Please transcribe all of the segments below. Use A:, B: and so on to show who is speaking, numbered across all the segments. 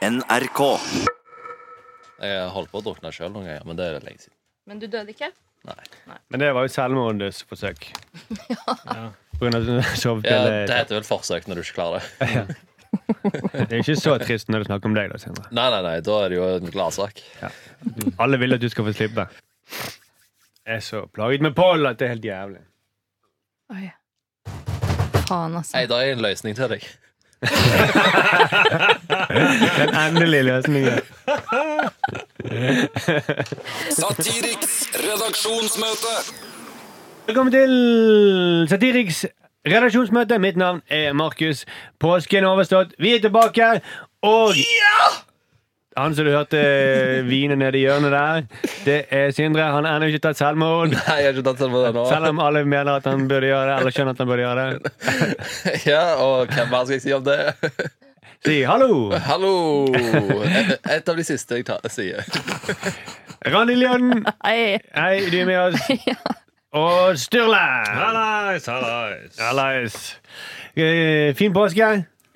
A: NRK.
B: Jeg holdt på å drukne sjøl noen ganger, men det er lenge siden.
C: Men du døde ikke?
B: Nei.
D: Men det var jo selvmordsforsøk. ja. På grunn av at du sov til
B: Ja,
D: eh,
B: det heter vel forsøk når du ikke klarer det.
D: Det er jo ikke så trist når du snakker om deg, da, Sindre.
B: Nei, nei, nei, da er det jo en gladsak. Mm.
D: Alle vil at du skal få slippe. Jeg er så plaget med pollen at det er helt jævlig.
C: Oi. Faen, altså.
B: Nei, da er jeg en løsning til deg.
D: Den endelige løsningen.
E: Satiriks redaksjonsmøte.
D: Velkommen til Satiriks redaksjonsmøte. Mitt navn er Markus. Påsken er overstått. Vi er tilbake, og Han som du hørte hvine nede i hjørnet der, det er Sindre. Han har ennå ikke tatt selvmord.
B: Nei, jeg har ikke tatt selv på det nå.
D: Selv om alle mener at han burde gjøre det, eller skjønner at han burde gjøre det.
B: Ja, og hvem mer skal jeg si om det?
D: Si hallo!
B: Hallo! Et av de siste jeg tar, sier.
D: Randi Ljonen,
C: Hei.
D: hei, du er med oss. Og Sturle!
F: Hallais, hallais.
D: Hallais. Eh, Fin påske.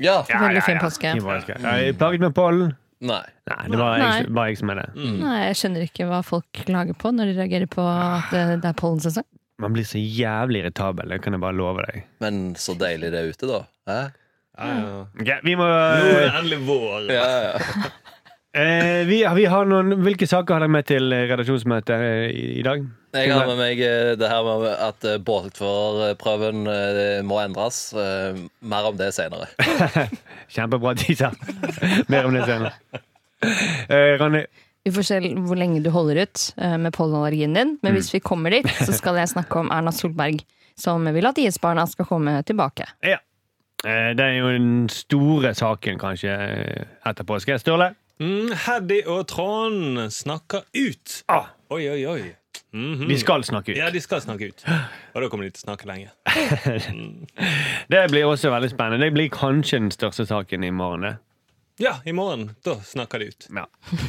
B: Ja.
C: Veldig fin påske.
D: Fin påske. Er jeg plaget med pollen?
B: Nei.
D: Nei, det var jeg,
C: Nei.
D: bare jeg som er
B: Mm.
D: det.
C: Nei, jeg skjønner ikke hva folk klager på når de reagerer på at eh, det, det er pollensesong.
D: Man blir så jævlig irritabel, det kan jeg bare love deg.
B: Men så deilig det er ute, da. Hæ?
F: Ja, ja.
D: Ok, vi må
F: Nå er det endelig vår.
B: Ja, ja.
D: eh, vi, vi har noen, Hvilke saker har dere med til redaksjonsmøtet eh, i, i dag?
B: Jeg har med meg eh, det her med at eh, båtførerprøven eh, må endres. Eh, Mer om det senere.
D: Kjempebra teaser. Mer om det senere. Eh, Ronny,
C: Vi får se hvor lenge du holder ut eh, med pollenallergien din, men
B: Mm.
C: hvis vi kommer dit, så skal jeg snakke om Erna Solberg, som vil at IS-barna skal komme tilbake.
D: Ja. Eh, Det er jo den store saken, kanskje, eh, etter påske. Sturle?
F: Mm, Heddy og Trond snakker ut.
D: Ah,
F: Oi, oi, oi. Mhm.
D: de skal snakke ut.
F: Ja, de skal snakke ut. Og da kommer de til å snakke lenge.
D: Det blir også veldig spennende. Det blir kanskje den største saken i morgen. det.
F: Ja, i morgen. Da snakker de ut.
D: Ja.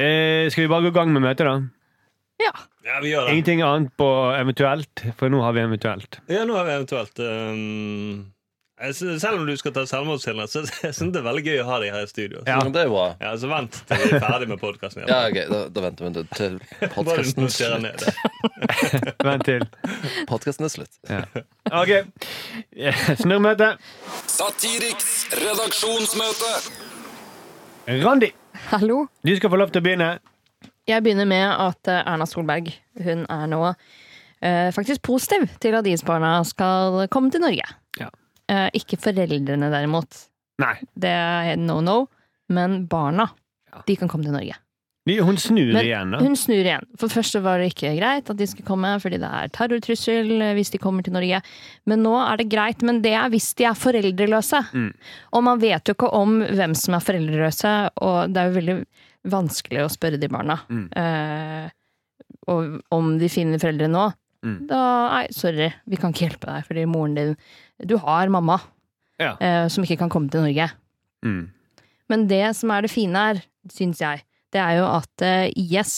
D: Eh, skal vi bare gå i gang med møtet, da?
C: Ja.
F: Ja, vi gjør det.
D: Ingenting annet på eventuelt, for nå har vi eventuelt.
F: Ja, nå har vi eventuelt ehm, jeg synes, Selv om du skal ta selvmordshilder, så jeg synes det er veldig gøy å ha deg her i studio.
D: Ja.
B: Det er bra.
F: Ja, så vent til vi er ferdig med podkasten.
B: Ja, ok, Da, da venter vi til- til
F: Bare
B: podkasten
F: notere ned det.
D: Vent til.
B: podcasten er slutt.
D: OK. Snurr møtet.
E: Satiriks redaksjonsmøte.
D: Randi,
C: Hallo.
D: du skal få lov til å begynne.
C: Jeg begynner med at eh, Erna Solberg hun er nå eh, faktisk positiv til at IS-barna skal komme til Norge.
D: Ja.
C: Eh, ikke foreldrene, derimot.
D: Nei.
C: Det er no no. Men barna,
D: Ja.
C: de kan komme til Norge.
D: de- Hun snur
C: Men
D: igjen, da.
C: Hun snur igjen. For først så var det ikke greit at de skulle komme, fordi det er terrortrussel eh, hvis de kommer til Norge. Men nå er det greit. Men det er hvis de er foreldreløse.
D: Mm.
C: Og man vet jo ikke om hvem som er foreldreløse, og det er jo veldig vanskelig å spørre de barna.
D: Mm.
C: Eh, og om de finner foreldre nå.
D: Mm.
C: Da Nei, sorry, vi kan ikke hjelpe deg, fordi moren din Du har mamma
D: Ja.
C: eh, som ikke kan komme til Norge.
D: Mm.
C: Men det som er det fine her, syns jeg, det er jo at eh, IS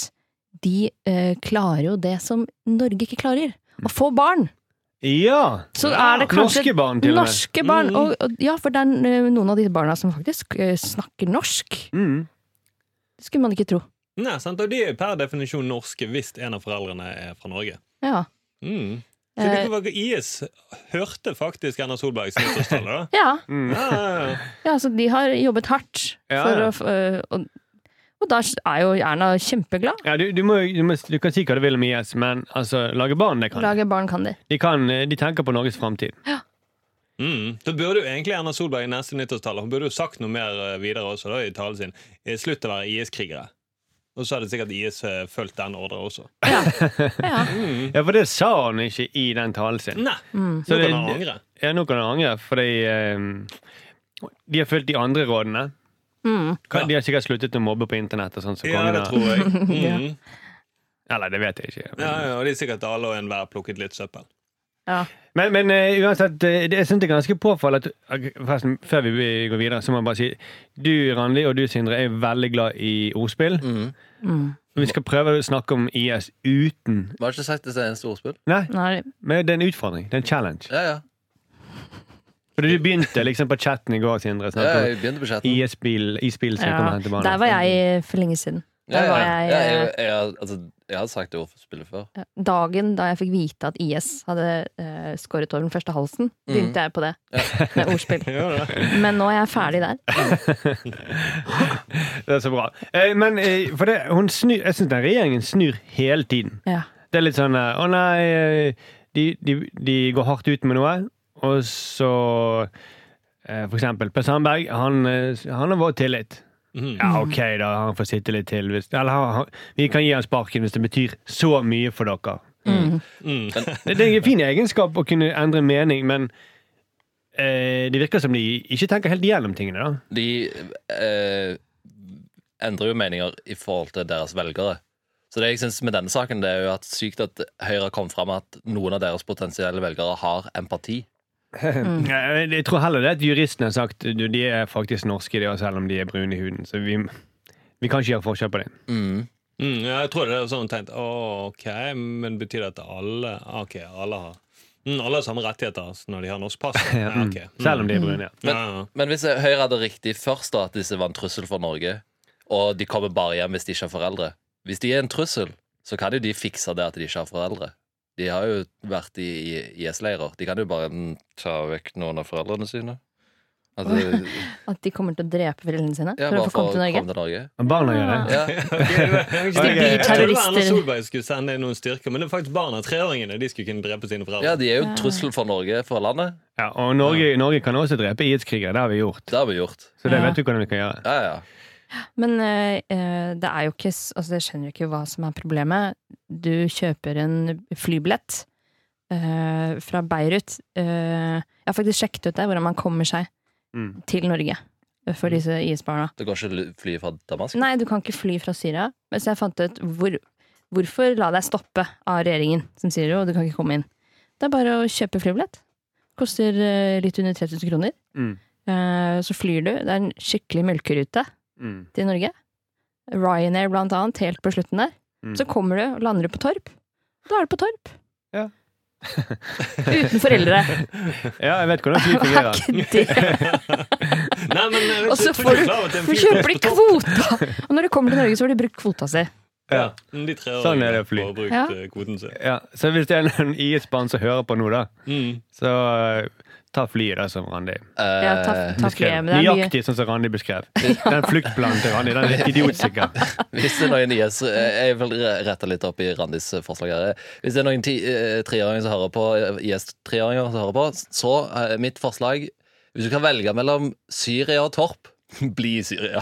C: de eh, klarer jo det som Norge ikke klarer. Å få barn!
D: Ja!
C: Så
F: Ja,
C: er det kanskje
D: norske barn, til og med.
C: Norske barn,
F: Mm.
C: og, og, ja, for det er eh, noen av de barna som faktisk eh, snakker norsk.
D: Mm.
C: Det skulle man ikke tro.
F: Nei, sant? Og de er per definisjon norske hvis en av foreldrene er fra Norge.
C: Ja.
F: Mm. Så
C: Eh,
F: det var IS hørte faktisk Erna Solbergs nyttårstale, da.
C: ja.
D: Mm.
F: Ja, ja, ja.
C: ja, så de har jobbet hardt
D: Ja,
C: for
D: ja.
C: å f- eh, og, og da er jo Erna kjempeglad.
D: Ja, du, du, må, du, må, du kan si hva du vil om IS, men altså, lage barn, det kan de.
C: Lage barn kan de.
D: De, kan, de tenker på Norges framtid.
F: Mm. Da burde jo egentlig Erna Solberg i neste nyttårstale Hun burde jo sagt noe mer eh, videre også da, i talen sin. Eh, Slutt å være IS-krigere. Og så hadde sikkert IS eh, fulgt den ordren også.
C: Ja. ja.
D: Ja, for det sa han ikke i den talen sin.
F: Nei!
C: Mm.
D: Så
F: nå
D: det,
F: kan han angre.
D: ja, nå kan han angre, fordi eh, de har fulgt de andre rådene.
C: Mm.
D: Kan- De har sikkert sluttet å mobbe på internett. og sånn som
F: Ja,
D: kongen
F: det
D: har-
F: tror jeg. Mm.
D: Eller, det vet jeg ikke.
F: Ja, ja, og de er sikkert alle og enhver plukket litt søppel.
C: ja.
D: Men, men eh, uansett, eh, det, jeg synes det er ganske påfallende at- Forresten, før vi går videre, så må jeg bare si du, Randi, og du, Sindre, er veldig glad i ordspill.
B: Mhm.
C: Mm.
D: Vi skal prøve å snakke om IS uten
B: Vi har ikke sagt det er en storspill.
D: Nei,
C: Nei,
D: men det er en utfordring. Det er en challenge.
B: Ja, ja.
D: For du begynte liksom på chatten i går, Sindre.
B: Ja,
D: snakket om
B: jeg begynte på chatten.
D: IS-bil IS-bil som kommer
C: Ja,
D: hen til banen.
C: der var jeg for lenge siden.
B: Ja,
C: Der var
B: ja, ja, jeg,
C: jeg,
B: jeg, har- altså, jeg har sagt det ordspillet før.
C: eh, dagen da jeg fikk vite at IS hadde eh, skåret over den første halsen,
B: Mm.
C: begynte jeg på det med ordspill.
F: Gjør det?
C: Men nå er jeg ferdig der.
D: Det er så bra. Eh, Men eh, for det, hun snur, jeg syns den regjeringen snur hele tiden.
C: Ja.
D: Det er litt sånn eh, Å nei, eh, de, de, de går hardt ut med noe, og så eh, For eksempel Per Sandberg. Han, eh, han har vår tillit.
F: Mhm.
D: Ja, OK, da. Han får sitte litt til. Hvis, eller han- han, vi kan gi han sparken hvis det betyr så mye for dere.
F: Mm.
D: Det, det er en fin egenskap å kunne endre mening, men eh, det virker som de ikke tenker helt igjennom tingene. da.
B: De eh, endrer jo meninger i forhold til deres velgere. Så det jeg synes med denne saken, det er jo at sykt at Høyre har kommet fram med at noen av deres potensielle velgere har empati.
F: Mm.
D: Jeg, jeg tror heller det at juristene har sagt du, de er faktisk norske, de, også, selv om de er brune i huden. Så vi, vi kan ikke gjøre forskjell på det.
B: Mm.
F: Mm, ja, jeg tror det er sånn tenkt Å, OK, men betyr det at alle ah, OK, alle har mm, Alle har samme rettigheter altså, når de har norsk pass? Ja,
D: Mm.
F: ok. Mm.
D: Selv om de er brune. ja.
F: ja, ja.
B: Men hvis Høyre hadde riktig først, da, at disse var en trussel for Norge, og de kommer bare hjem hvis de ikke har foreldre Hvis de er en trussel, så kan jo de fikse det at de ikke har foreldre. De har jo vært i i- IS-leirer. De kan jo bare mm, ta vekk noen av foreldrene sine. Altså,
C: At de kommer til å drepe foreldrene sine
B: ja,
C: for å
B: bare
C: få komme til Norge.
B: Komme til Norge.
D: Men Barna gjør det.
B: Ja.
C: de blir
F: Jeg trodde Erna
C: terrorister.
F: Solberg skulle sende inn noen styrker, men det er faktisk barna, treåringene, de skulle kunne drepe sine foreldre.
B: ja, de er jo en trussel for Norge, for landet.
D: Ja, og Norge, Norge kan også drepe IS-krigere. Det har vi gjort.
B: Det har vi gjort.
D: Så det
C: Ja.
D: vet du hvordan vi kan gjøre.
B: Ja, ja.
C: Men eh, eh, det er jo ikke s- Altså, jeg skjønner jo ikke hva som er problemet. Du kjøper en flybillett eh, fra Beirut. Eh, jeg har faktisk sjekket ut det, hvordan man kommer seg
D: Mm.
C: til Norge for
B: Mm.
C: disse IS-barna.
B: Det går ikke l- fly fra Damask.
C: Nei, du kan ikke fly fra Syria. Men Så jeg fant ut hvor, hvorfor la deg stoppe av regjeringen, som sier jo du kan ikke komme inn. Det er bare å kjøpe flybillett. Koster eh, litt under 3000 kroner.
D: Mm.
C: Eh, Så flyr du. Det er en skikkelig melkerute
D: Mm.
C: til Norge. Ryanair blant annet, helt på slutten der.
D: Mm.
C: Så kommer du og lander du på Torp. Da er du på Torp.
D: Ja.
C: Uten foreldre.
D: Ja, jeg vet hvordan fly
C: Er
D: fungerer.
C: ikke det?
F: Nei, men jeg
C: Og
F: vet
C: så
F: ikke, jeg
C: får
F: tror ikke
C: du-
F: klar over at det er en
C: For
F: fin
C: kjøper de
F: post på topp.
C: kvota! Og når du kommer til Norge, så har de brukt kvota si.
D: Ja.
F: Mm, De treåringene
D: Sånn er det å fly.
F: får brukt
C: Ja.
F: eh, kvoten sin.
D: Ja, så hvis det er noen IS-barn som hører på nå, da,
F: Mm.
D: så eh, ta flyet, da, som Randi
C: Ja, ta,
B: Eh,
C: ta
D: beskrev.
C: flyet, men det er mye.
D: Nøyaktig sånn som Randi beskrev. Den fluktplanen til Randi, den er idiotsikker.
B: Hvis det er noen IS Jeg vil rette litt opp i Randis eh, forslag her. Hvis det er noen ti- eh, treåringer som hører på, eh, IS-treåringer som hører på, så eh, mitt forslag Hvis du kan velge mellom Syria og Torp, bli i Syria.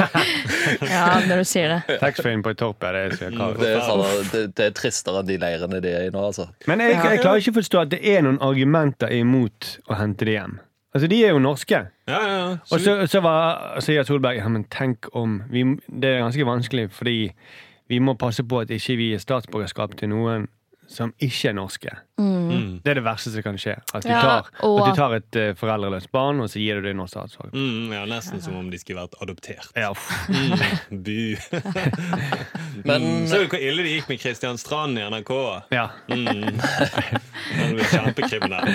C: Ja, når du sier det.
D: Taxfree-en på et torp er det som er kaos.
B: Det er, sånn, det, det er tristere enn de leirene de er i nå, altså.
D: Men jeg, jeg klarer ikke å forstå at det er noen argumenter imot å hente de hjem. Altså, De er jo norske.
F: Ja, ja, ja.
D: Og så, så var, sier Solberg ja, men tenk om vi, Det er ganske vanskelig, fordi vi må passe på at ikke vi gir statsborgerskap til noen som ikke er norske.
F: Mm.
D: Det er det verste som kan skje. At du
C: Ja,
D: tar,
C: og-
D: at du tar et eh, foreldreløst barn, og så gir du det norsk statsborgerskap.
F: Mm, ja, nesten som om de skulle vært adoptert.
D: Ja, uff.
F: Mm, bu.
B: Men-
F: mm, så du hvor ille det gikk med Kristian Strand i NRK?
D: ja.
F: Mm. Han ble kjempekriminell.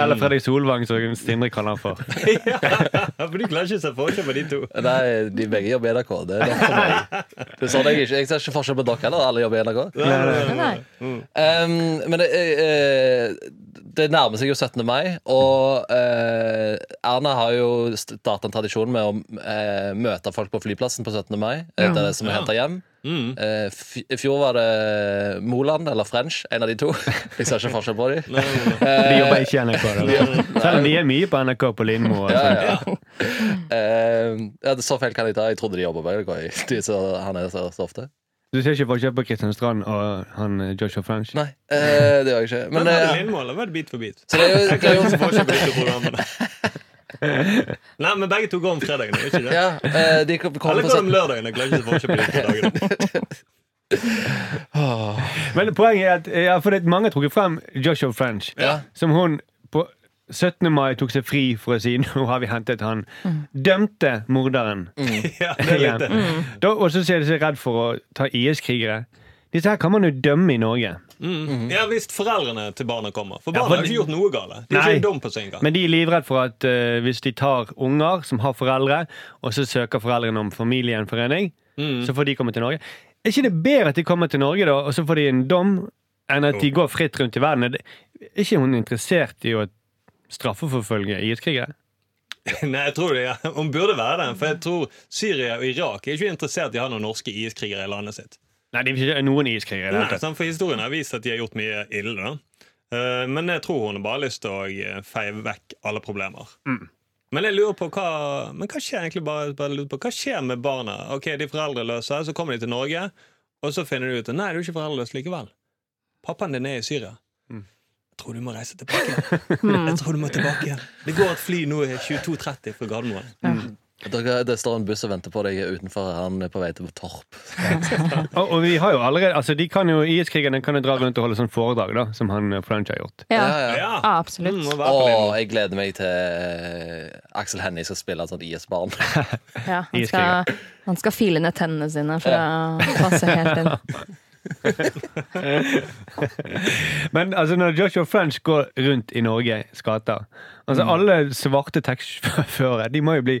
D: Eller Fredrik Solvang, som Sindre kaller han for.
F: Ja, for du klarer ikke å se forskjell på de to.
B: Nei, de begge jobber i NRK. Det er nok for meg. Det er sånn jeg, ikke, jeg ser ikke forskjell på dere heller, alle jobber i NRK.
C: Nei, nei.
B: Ehm, men det, eh, det nærmer seg jo 17. mai, og eh, Erna har jo starta en tradisjon med å eh, møte folk på flyplassen på 17. mai.
C: Ja.
B: Etter det som er
F: Ja.
B: henta hjem.
F: Mm.
B: Eh, f- I fjor var det Moland eller French, en av de to. Jeg ser ikke forskjell på dem.
F: Nei, nei, nei.
C: Eh,
D: De jobber ikke i NRK. Da. Selv om de er mye på NRK på Lindmo. og
B: Ja,
D: sånn.
B: ja. Ehm, ja, det- så feil kan jeg ta. Jeg trodde de jobba begge to. De- så Han er så, så ofte.
D: Du ser ikke forskjell på Kristian Strand og han eh, Joshua French?
B: Nei, eh, det gjør jeg ikke. Men,
F: Men var det
B: eh,
F: Lindmo, eller var det Bit for bit?
B: så det er jo, det er jo
F: Så forskjell på de to programmene. Nei, men begge to går om fredagen, er det ikke det?
B: Ja, eh, de kom- kommer
F: Eller
B: på
F: går om
B: 17.
F: lørdagen? Jeg klarer ikke å se forskjell på de to dagene.
D: Men poenget er at eh, ja, for det, mange har trukket frem Joshua French,
B: Ja.
D: som hun på 17. mai tok seg fri for å si nå har vi hentet han. Dømte morderen.
F: Ja, det er litt det.
D: Da, og så er de så redd for å ta IS-krigere. Disse her kan man jo dømme i Norge.
F: Mm. Ja, Hvis foreldrene til barna kommer. For
D: Ja,
F: barna
D: for-
F: har ikke gjort noe galt. De er
D: Nei.
F: ikke dum på seg engang.
D: Men de er livredd for at eh, hvis de tar unger som har foreldre, og så søker foreldrene om familiegjenforening,
F: Mm.
D: så får de komme til Norge. Er ikke det bedre at de kommer til Norge, da, og så får de en dom, enn at de går fritt rundt i verden? Er det- Er ikke hun interessert i å straffeforfølge IS-krigere?
F: Nei, jeg tror det, ja. Hun burde være det. For jeg tror Syria og Irak er ikke interessert i å ha noen norske IS-krigere i landet sitt.
D: Nei, det er ikke noen IS-krigere. i det hele
F: Nei,
D: tatt.
F: sant, for Historien har vist at de har gjort mye ille. da. Eh, Men jeg tror hun har bare lyst til å eh, feie vekk alle problemer. Men jeg lurer på hva Men hva skjer egentlig bare, bare lurer på, hva skjer med barna? Ok, De er foreldreløse, så kommer de til Norge, og så finner de ut at nei, du er ikke foreldreløs likevel. Pappaen din er i Syria. Jeg tror du må reise tilbake. Jeg tror du må tilbake igjen. Det går et fly nå i 22.30 fra Gardermoen.
B: Dere, det står en buss og venter på deg utenfor. Han er på vei til Torp.
D: Og, og vi har jo allerede, altså de kan jo, IS-krigerne kan jo dra rundt og holde sånn foredrag, da, som han eh, French har gjort.
C: Ja,
B: Ja, ja.
F: Ja,
C: ja
F: Mm,
C: absolutt.
F: må være på det.
B: Og jeg gleder meg til eh, Aksel Hennie skal spille et sånt IS-barn.
C: Ja, han,
D: Iskriger.
C: skal, han skal file ned tennene sine for å passe helt inn.
D: Men altså, når Joshua French går rundt i Norges gater altså,
F: Mm.
D: Alle svarte taxisjåfører de må jo bli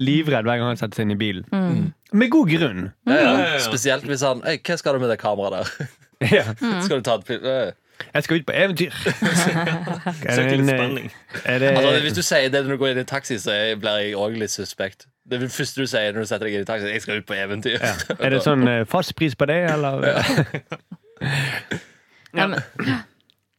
D: livredd hver gang han setter seg inn i bilen.
C: Mm.
F: Mm.
D: Med god grunn.
B: Ja,
F: ja, ja.
B: ja. Spesielt hvis han Ei, Hva skal du med det kameraet der?
D: Ja.
C: Mm.
B: Skal du ta et pil- eh.
D: Jeg skal ut på eventyr.
F: Søker litt
D: eh,
F: spenning.
D: Er det,
B: altså, Hvis du sier det når du går inn i taxi, så er- blir jeg òg litt suspekt. Det er det første du sier når du setter deg inn i taxi. Jeg skal ut på eventyr.
D: er det sånn eh, fast pris på det, eller?
C: Ja, men,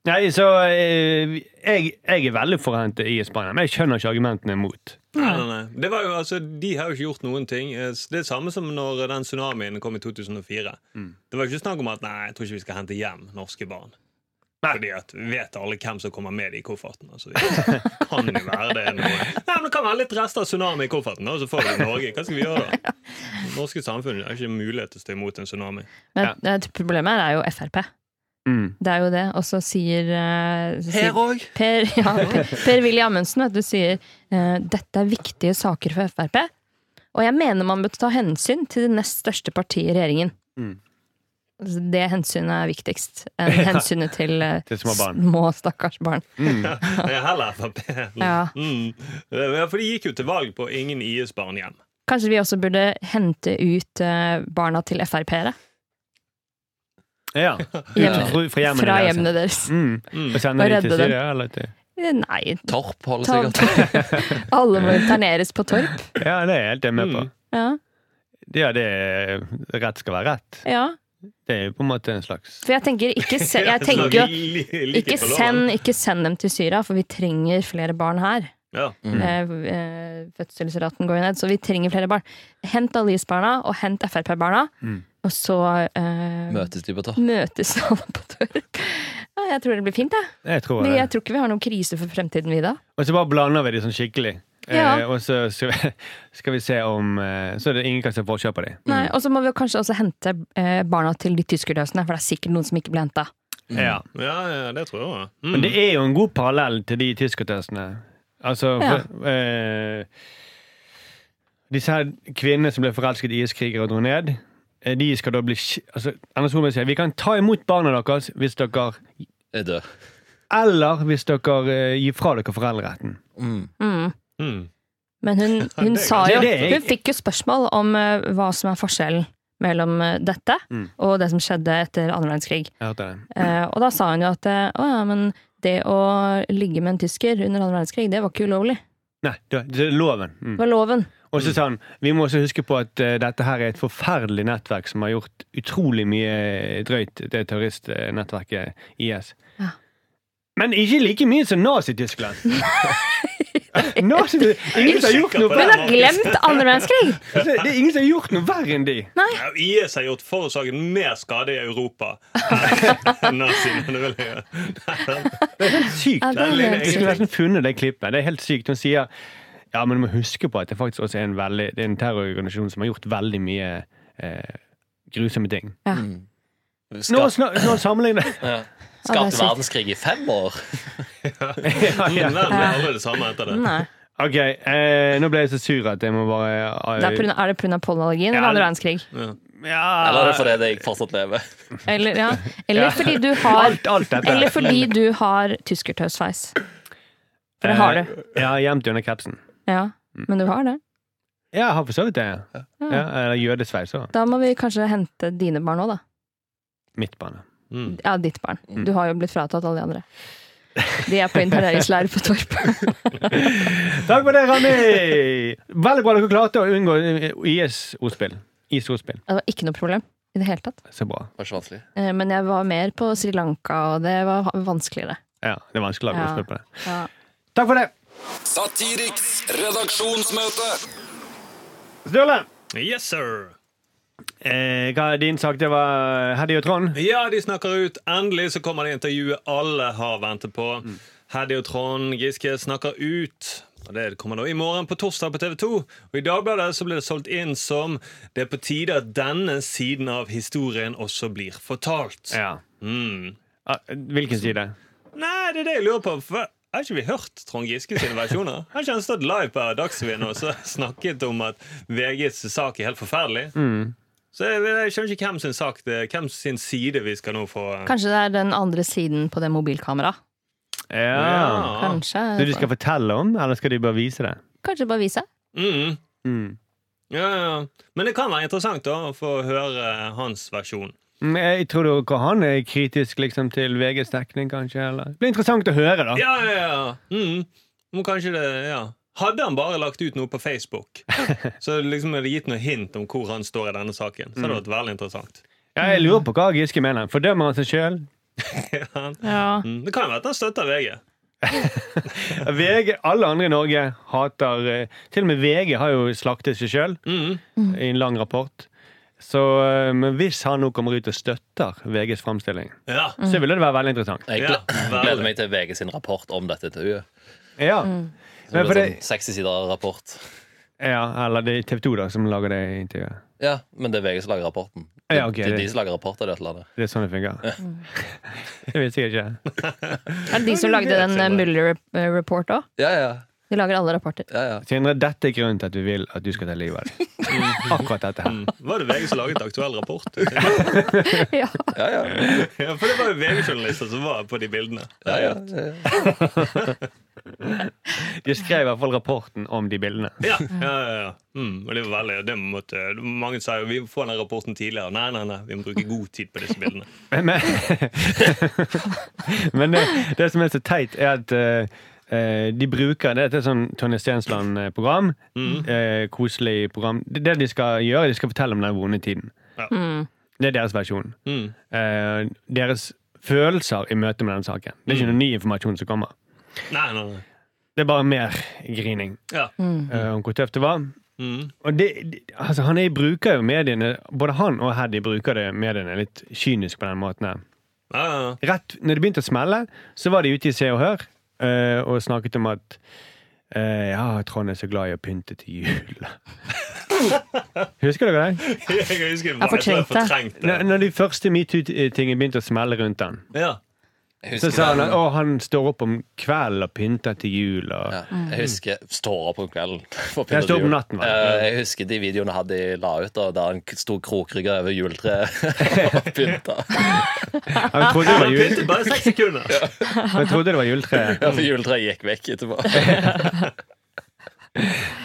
D: Nei, så eh, jeg, jeg er veldig forhent til IS-Spania, men jeg skjønner ikke argumentene mot.
C: Mm.
F: Nei, nei, nei. Det var jo, altså, de har jo ikke gjort noen ting. Eh, s- Det er samme som når den tsunamien kom i 2004. Det var jo ikke snakk om at nei, jeg tror ikke vi skal hente hjem norske barn. Fordi at vi vet alle hvem som kommer med de i kofferten. Altså, det kan jo være det er noe. Nei, men det kan være litt rester av tsunami i kofferten, da, og så får vi det i Norge. Hva skal vi gjøre da? Det norske samfunnet har ikke mulighet til å stå imot en tsunami.
C: men eh, problemet her er jo Frp.
D: Mm.
C: Det er jo det. Og så sier, eh, så sier
B: Her òg.
C: Per, ja, per, per Willy Amundsen vet du, sier eh, dette er viktige saker for Frp. Og jeg mener man bør ta hensyn til det nest største partiet i regjeringen.
D: Mm.
C: Altså, Det hensynet er viktigst enn hensynet til, eh,
D: Til små barn.
C: små, stakkars barn.
F: Det er heller Frp.
C: Ja.
F: Mm. Ja, For de gikk jo til valg på ingen IS-barn hjem.
C: Kanskje vi også burde hente ut eh, barna til Frp-ere?
D: Ja.
C: Hjemme-
D: Fra, fra hjemmene
C: Fra
D: deres.
C: hjemmene deres.
D: Mm.
F: Mm.
D: Og
C: Og
D: sender de til
C: redde dem.
D: Syria, eller til
C: Eh, Nei,
B: Torp holder
C: ta,
B: sikkert.
C: alle må interneres på Torp.
D: Ja, det er jeg helt med på.
F: Mm.
C: Ja,
D: Ja, det er, rett skal være rett.
C: ja.
D: Det er jo på en måte en slags
C: For jeg tenker ikke se, Jeg tenker jo Ikke send, ikke send dem til Syria, for vi trenger flere barn her.
F: Ja.
C: Eh, eh, fødselsraten går jo ned, så vi trenger flere barn. Hent alle IS-barna, og hent Frp-barna. Og så eh,
B: Møtes de på Torp?
C: møtes alle på Torp. Ja, jeg tror det blir fint, jeg.
D: Jeg tror
C: Vi-
D: det.
C: Jeg tror ikke vi har noen krise for fremtiden, vi da.
D: Og så bare blander vi de sånn skikkelig.
C: Ja.
D: Eh, og så skal vi, skal vi se om eh, Så det ingen kan se forskjell på dem.
C: Nei, Og så må vi jo kanskje også hente eh, barna til de tyskerløsene, for det er sikkert noen som ikke ble henta.
D: Ja.
F: Ja, ja, det tror jeg også. Mm.
D: Men det er jo en god parallell til de tyskertestene. Altså for, eh, Disse her kvinnene som ble forelsket i IS-krigere og dro ned, eh, de skal da bli sk- altså, Erna Solberg sier vi kan ta imot barna deres hvis dere
B: Er død.
D: Eller hvis dere eh, gir fra dere foreldreretten.
B: Mm.
C: Mm.
F: Mm.
C: Men hun, hun
F: det er
C: sa
D: ganske
C: jo
D: greit.
C: Hun fikk jo spørsmål om eh, hva som er forskjellen mellom eh, dette
D: Mm.
C: og det som skjedde etter annen verdenskrig.
D: Jeg hørte det.
C: Eh, og da sa hun jo at eh, å ja, men det å ligge med en tysker under annen verdenskrig, det var ikke ulovlig.
D: Nei, det det er loven. Mm.
C: Det var loven.
D: Og så sa han vi må også huske på at eh, dette her er et forferdelig nettverk som har gjort utrolig mye drøyt, det terroristnettverket IS.
C: Ja.
D: Men ikke like mye som Nazi-Tyskland! Nazi det er ingen som har gjort noe
F: Hun
C: Hun
D: verre
C: har glemt annen verdenskrig!
D: altså, Det er ingen som har gjort noe verre enn de!
F: Ja, IS har gjort forårsaket mer skade i Europa enn naziene. Det vil jeg gjøre.
D: Sykt!
C: Ja, det er helt
D: Jeg skulle nesten funnet det klippet. Det er helt sykt. Hun sier ja, men du må huske på at det faktisk også er en, veldig, det er en terrororganisasjon som har gjort veldig mye eh, grusomme ting. Nå,
B: Skap,
D: snak- nå sammenligner
B: ja.
C: Ja, det
B: Skapte
C: er sykt.
B: verdenskrig i fem år.
D: ja,
F: Men
D: ja.
F: verden ble aldri det samme etter det.
C: Nei.
D: Ok, eh, nå ble jeg så sur at jeg må bare eh,
C: Det er, på grunn av- er det pga. pollenallergien
D: Ja,
C: eller annen
D: det-
C: verdenskrig?
F: Ja.
D: Ja.
B: Eller er det fordi jeg fortsatt lever?
C: Eller, ja. eller fordi du har
D: Alt, alt dette.
C: Eller fordi du har tyskertøysveis. For det har du.
D: Eh, Ja, gjemt under capsen.
C: Ja, men du har det.
D: Ja, jeg har for så vidt det. Ja. Ja, eller jødesveis òg.
C: Da må vi kanskje hente dine barn òg, da.
D: Midtbane.
F: Mm.
C: Ja, ditt barn. Du har jo blitt fratatt alle de andre. De er på interneringsleir på Torp.
D: Takk for det, Randi! Veldig bra dere klarte å unngå eh, IS-ordspill. IS-ordspill.
C: Det var ikke noe problem i det hele tatt.
D: Så bra.
B: Det var ikke vanskelig.
C: Eh, Men jeg var mer på Sri Lanka, og det var ha- vanskeligere.
D: Ja, det er vanskelig å lage
C: Ja.
D: ordspill på det.
C: Ja.
D: Takk for det!
E: Satiriks redaksjonsmøte.
D: Sturle!
F: Yes, sir!
D: Eh, hva er din sak? Det var Heddy og Trond?
F: Ja, de snakker ut. Endelig så kommer det intervjuet alle har ventet på.
D: Mm.
F: Heddy og Trond Giske snakker ut. Og Det kommer da i morgen på torsdag på TV 2. Og I Dagbladet så ble det solgt inn som det er på tide at denne siden av historien også blir fortalt.
D: Ja.
F: Mm.
D: Ah, Hvilken side?
F: Nei, det er det jeg lurer på. For har ikke vi hørt Trond Giske sine versjoner? Har ikke han stått live på Dagsrevyen og så snakket om at VGs sak er helt forferdelig? Så jeg, jeg skjønner ikke hvem sin sak det er, hvem sin side vi skal nå få eh.
C: Kanskje det er den andre siden på det mobilkameraet.
D: Ja. Så de
C: Kanskje,
D: skal fortelle om, eller skal de bare vise det?
C: kanskje bare vise.
F: Mm.
D: Mm.
F: Ja, ja. ja. Men det kan være interessant da å få høre eh, hans versjon.
D: Mm, Jeg tror dere han er kritisk liksom, til VGs dekning, kanskje? Eller? Det blir interessant å høre, da.
F: Ja, ja, ja. Mm. Men kanskje det, ja. Hadde han bare lagt ut noe på Facebook, så liksom hadde det gitt noe hint om hvor han står i denne saken. Så hadde det vært veldig interessant.
D: Ja, jeg lurer på hva Giske mener. Fordømmer han seg sjøl?
F: Ja.
C: Ja.
F: Mm. Det kan jo være at han støtter VG.
D: VG, alle andre i Norge hater eh, Til og med VG har jo slaktet seg sjøl
F: Mm.
D: i en lang rapport. Så, eh, men hvis han nå kommer ut og støtter VGs framstilling,
F: Ja.
D: så ville det være veldig interessant.
B: Jeg
F: Ja,
B: gled-
F: veldig.
B: gleder meg til VG sin rapport om dette intervjuet.
D: Ja,
B: Det
D: men
B: blir
D: for det,
B: sånn 60 sider rapport.
D: ja Eller det er TV 2 da som lager det intervjuet.
B: Ja, men det er VG som lager rapporten. Det,
D: Ja, ok,
B: det er
D: det-
B: de som lager rapporter i dette landet.
D: Det er sånn det fungerer. Det visste jeg ikke.
C: Er det de som lagde den eh, Mueller eh, report òg?
B: Ja, ja,
C: De lager alle rapporter.
B: ja, ja.
D: Sindre, dette er grunnen til at vi vil at du skal ta livet av deg. Akkurat dette her.
F: Var det VG som laget aktuell rapport?
C: Ja.
B: ja, ja.
F: ja, for det var jo VG-journalister som var på de bildene.
B: ja, ja, ja.
D: De skrev i hvert fall rapporten om de bildene.
F: Ja, ja, ja, ja. Mm, og det var veldig det måtte, Mange sa jo vi må få den rapporten tidligere. Nei, nei, nei, vi må bruke god tid på disse bildene.
D: Men, men det, det som er så teit, er at eh, eh, de bruker Det er et sånn Tonje Stensland-program.
F: Mm.
D: eh, koselig program. Det, det de skal gjøre, de skal fortelle om den vonde tiden.
F: Ja.
D: Det er deres versjon.
F: Mm.
D: Eh, deres følelser i møte med den saken. Det er
F: Mm.
D: ikke noe ny informasjon som kommer.
F: Nei, nei, nei.
D: Det er bare mer grining
F: Ja.
D: eh, om hvor tøft det var.
F: Mm.
D: Og det, det- altså han er, bruker jo mediene Både han og Heddy bruker det mediene litt kynisk på den måten her.
F: Ja, ja, ja.
D: rett når det begynte å smelle, så var de ute i Se og Hør eh, og snakket om at eh, ja, Trond er så glad i å pynte til jul. Husker dere det?
F: Jeg husker jeg bare-
C: fortrengte.
F: jeg fortrengte
D: Når,
F: det.
D: når de første metoo-tingene begynte å smelle rundt han,
F: Ja.
B: Jeg
D: så
B: husker
D: sa han
B: den.
D: at å, han står opp om kvelden og pynter til jul. Og,
B: Ja, jeg husker står opp om kvelden. for å pynte
D: Jeg står opp
B: til jul.
D: om natten, vel?
B: Eh, Jeg husker de videoene hadde jeg la ut, da, der han sto krokrygga over juletreet og pynta.
D: Han trodde det
F: Han
D: var jul,
F: pyntet bare seks sekunder.
D: han trodde det var juletre.
B: Ja, for juletreet gikk vekk etterpå.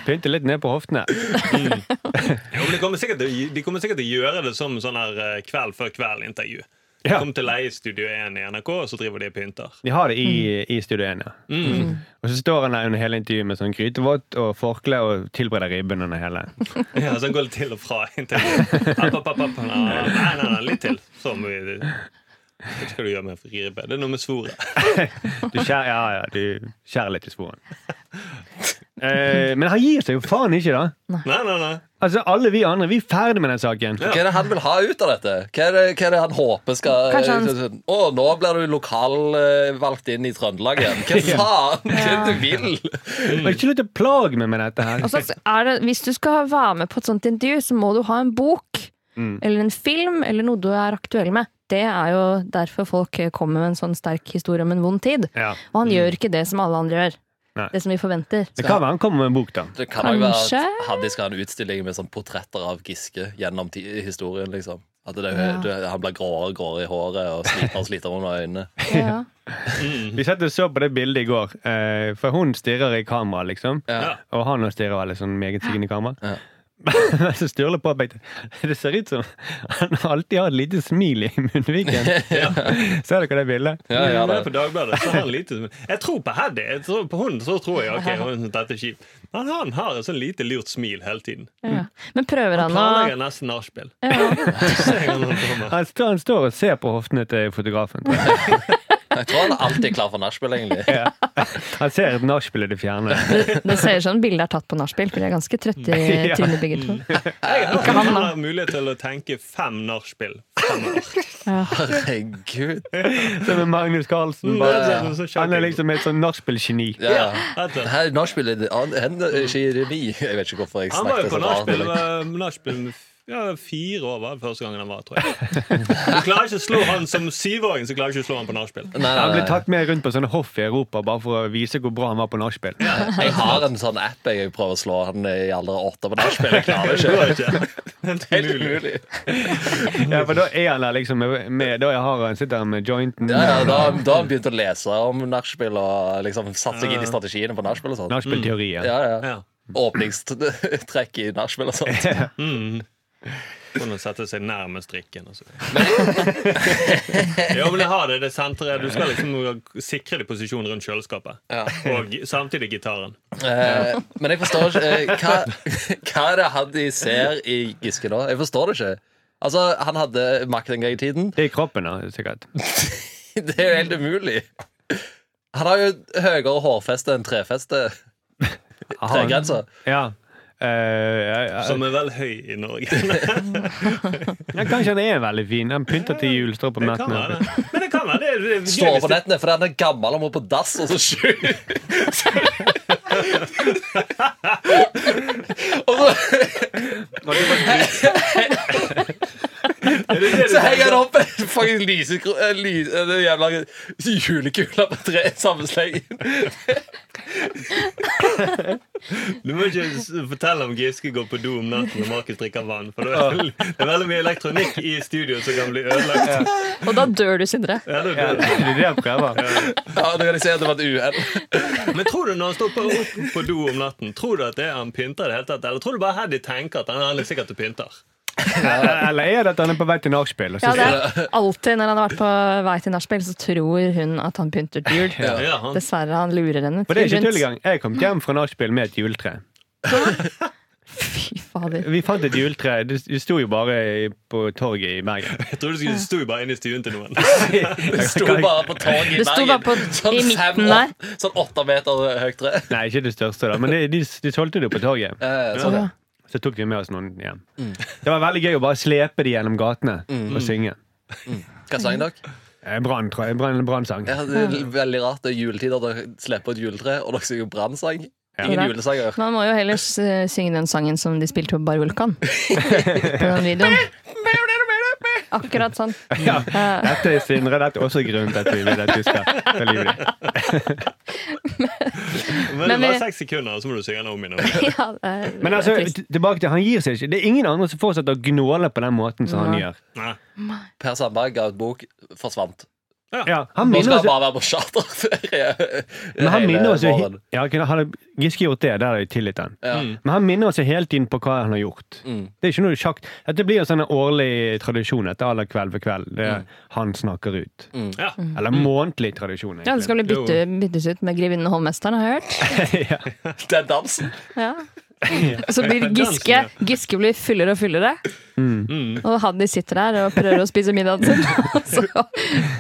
D: Pynte litt ned på hoftene.
F: Jo, men de, kommer sikkert, til- de kommer sikkert til å gjøre det som sånn her eh, kveld før kveld-intervju. De
D: Ja.
F: kommer til å leie Studio 1 i NRK, og så driver de og pynter.
D: De har det i, i Studio 1, ja. Og så står han der under hele intervjuet med sånn grytevått og forkle og tilbereder ribben under hele.
F: Ja, så han går litt til og fra intervjuet. App, app, app, app. Nei, nei, nei, nei, litt til. Så må vi Hva skal du gjøre med friribbe? Det er noe med svoret.
D: Du skjærer, ja, ja, du skjærer litt i sporen. Eh, men han gir seg jo faen ikke, da.
F: Nei, nei, nei.
D: Altså, Alle vi andre vi er ferdig med den saken.
B: Hva er det han vil ha ut av dette? Hva er det, hva er det han håper skal
C: Kanskje han-
B: Sånn, Å, nå blir du lokalvalgt inn i Trøndelag igjen. Hva faen? Hva er det du vil?
D: Og ikke slutt å plage meg med dette her.
C: Og så er det, hvis du skal være med på et sånt intervju, så må du ha en bok
D: Mm.
C: eller en film eller noe du er aktuell med. Det er jo derfor folk kommer med en sånn sterk historie om en vond tid.
D: Ja. Mm.
C: Og han gjør ikke det som alle andre gjør.
D: Nei.
C: det som vi forventer.
D: Det kan være han kommer med en bok, da.
B: Det kan nok være
C: Kanskje?
B: at Hadde skal ha en utstilling med sånn portretter av Giske gjennom ti- historien. liksom At det,
C: Ja.
B: det, han blir gråere og gråere i håret og sliter og sliter under øynene.
C: Ja.
D: Vi satt og så på det bildet i går, eh, for hun stirrer i kamera, liksom.
B: Ja.
F: Ja.
D: Og han også stirrer veldig sånn meget sigende i kamera.
B: Ja.
D: Men så Sturle påpekte det ser ut som han alltid har et lite smil i munnviken. Ser dere det bildet?
B: Ja, ja,
F: Når jeg
B: det.
F: er på Dagbladet så har han lite smil. Jeg tror på Heddy. Jeg tror på hun så tror jeg ok, hun, dette er kjipt. Men han har et sånn lite lurt smil hele tiden.
C: Ja. Men prøver han
F: Han
C: å
F: planlegger nesten nachspiel.
C: ja.
F: Se hvordan han kommer.
D: Han står, han står og ser på hoftene til fotografen. tror jeg.
B: Jeg tror han er alltid klar for nachspiel, egentlig.
D: Han ser et nachspiel i det fjerne.
C: Det ser ut som bildet er tatt på nachspiel, for de er ganske trøtte i
D: Ja.
C: trynet begge to.
F: Jeg
C: Ikke
F: har
C: han, da.
F: har mulighet til å tenke fem nachspiel. Fem år.
B: Herregud.
D: Som med Magnus Carlsen. Bare.
F: Det er så- så
D: Han er
F: shocking.
D: liksom et sånn nachspiel-geni.
B: Ja.
F: Vet du.
B: Det her Nachspiel er han- han er ikke i revy. Jeg vet ikke hvorfor jeg
F: Han var jo
B: snakket
F: på
B: sånn rart.
F: nachspiel
B: eller-
F: med- nachspiel med f- ja, fire år, var det første gangen han var, tror jeg. Du klarer ikke å slå han som syvåring, så klarer du ikke å slå han på nachspiel.
B: Nei,
D: Han
B: nei,
D: ble
B: nei.
D: tatt med rundt på sånne hoff i Europa bare for å vise hvor bra han var på nachspiel.
B: Jeg har en sånn app jeg prøver å slå han i alderen åtte på nachspiel. Jeg klarer det
F: Det
B: ikke.
F: går ikke. Helt
B: Helt
F: umulig.
B: umulig.
D: Ja, for da er han der liksom med, med Da har han sitter han med jointen. eh,
B: Ja, ja, da, da har han begynt å lese om nachspiel og liksom satt seg inn i strategiene på nachspiel. og sånt.
D: Nachspiel-teorien.
B: Ja, ja.
F: Ja.
B: Åpningstrekk i nachspiel og sånt.
F: Sånn å sette seg nærmest drikken. Og så. ja, men jeg har det, det senteret. Du skal liksom sikre deg posisjon rundt kjøleskapet. Og gi- samtidig gitaren.
B: Eh, men jeg forstår ikke eh, hva, hva er det Haddy ser i Giske nå? Jeg forstår det ikke. Altså, Han hadde makt en gang i tiden.
D: Det er i kroppen, da, sikkert.
B: Det er jo helt umulig. Han har jo høyere hårfeste enn trefeste.
D: Han-
B: Tregrensa.
D: Ja. Eh, ja, ja.
F: Som er vel høy i Norge.
D: ja, kanskje han er veldig fin. Han pynter til jul, står på
F: Det kan være
D: nettene.
F: det. Men det kan være det. det, er gøy
B: Står
F: hvis
B: på
F: det-
B: nettene fordi han er gammel og må på dass og så sjuk. og så,
F: er det det du
B: så
F: tenker?
B: henger han opp en fucking lysekro- en lys- en jævla julekule på tre sammenslengen.
F: Du må ikke s- fortelle om Giske går på do om natten og Markus drikker vann. For det er, vel- det er veldig mye elektronikk i studio som kan bli ødelagt.
C: Og da dør du, Sindre.
F: Ja, det
D: Ja,
F: er
D: det
F: det.
D: er det han prøver.
B: Ja, nå kan jeg si at det var et uhell.
F: Men tror du når han står på, opp på do om natten, tror du at det er han pynter i det hele tatt? Eller tror du bare Heddy tenker at han, han er sikkert og pynter?
D: Eller- Eller er det at han er på vei til nachspiel? og så-
C: Ja, det er alltid når han har vært på vei til nachspiel, så tror hun at han pynter til jul.
F: Ja, han,
C: Dessverre, han lurer henne.
D: For det er ikke
C: rundt.
D: tull engang. Jeg kom hjem fra nachspiel med et juletre.
C: Fy fader.
D: Vi fant et juletre. Det det sto jo bare i- på torget i Bergen.
F: jeg trodde du skulle stå bare inne i stuen til noen.
B: Det sto bare på torget i
C: Det sto bare på-
B: Bergen. Sånn
C: i midten
B: fem-
C: der.
B: åt- Sånn åtte meter høyt tre.
D: Nei, ikke det største, da. Men det, de, de solgte det jo på torget.
B: Eh, sånn, ja.
D: Så tok vi med oss noen hjem.
B: Mm.
D: Det var veldig gøy å bare slepe de gjennom gatene og synge.
B: Hva sang dere?
D: Eh, Brann, tror jeg. Brann- Brannsang.
B: Ja, det er veldig rart. Det er juletid, og dere slipper et juletre, og dere synger brannsang. Ingen
C: Ja.
B: julesanger.
C: Man må jo heller s- synge den sangen som de spilte på Bar Vulkan. På den videoen. Akkurat sånn.
D: Ja.
C: Eh,
D: Dette er Sindre. Dette er også grunnen til at vi vil at du skal ta livet ditt.
F: Men eh, det
C: Men vi-
F: var seks sekunder, så må du synge den om igjen. og om igjen.
C: ja, det er
D: Men altså,
C: trist.
D: t- tilbake til, han gir seg ikke. Det er ingen andre som fortsetter å gnåle på den måten som han
C: Nei.
D: gjør.
F: Nei.
B: Per Sandberg ga ut bok, forsvant. Nå
D: Ja, han
B: skal
D: minner
B: han
D: oss,
B: bare være på charterferie.
D: men han
B: eh, hele
D: minner oss jo he-
B: våren.
D: ja, kunne- Hadde Giske gjort det, der hadde jeg tilgitt han.
B: Ja.
D: Men han minner oss jo hele tiden på hva han har gjort.
B: Mm.
D: Det er ikke noe sjakt. Dette blir jo sånn en årlig tradisjon etter alle Kveld for kveld. Det
B: Mm.
D: er Han snakker ut.
F: Ja.
D: Eller månedlig tradisjon.
C: Mm. ja, det skal bli bytte,
F: Jo.
C: byttes ut med Grevinnen og hovmesteren, har jeg hørt.
B: Den dansen.
C: Ja. Så blir Giske Giske blir fyllere og fyllere.
D: Mm.
C: Og Haddy sitter der og prøver å spise middagen sin. Og så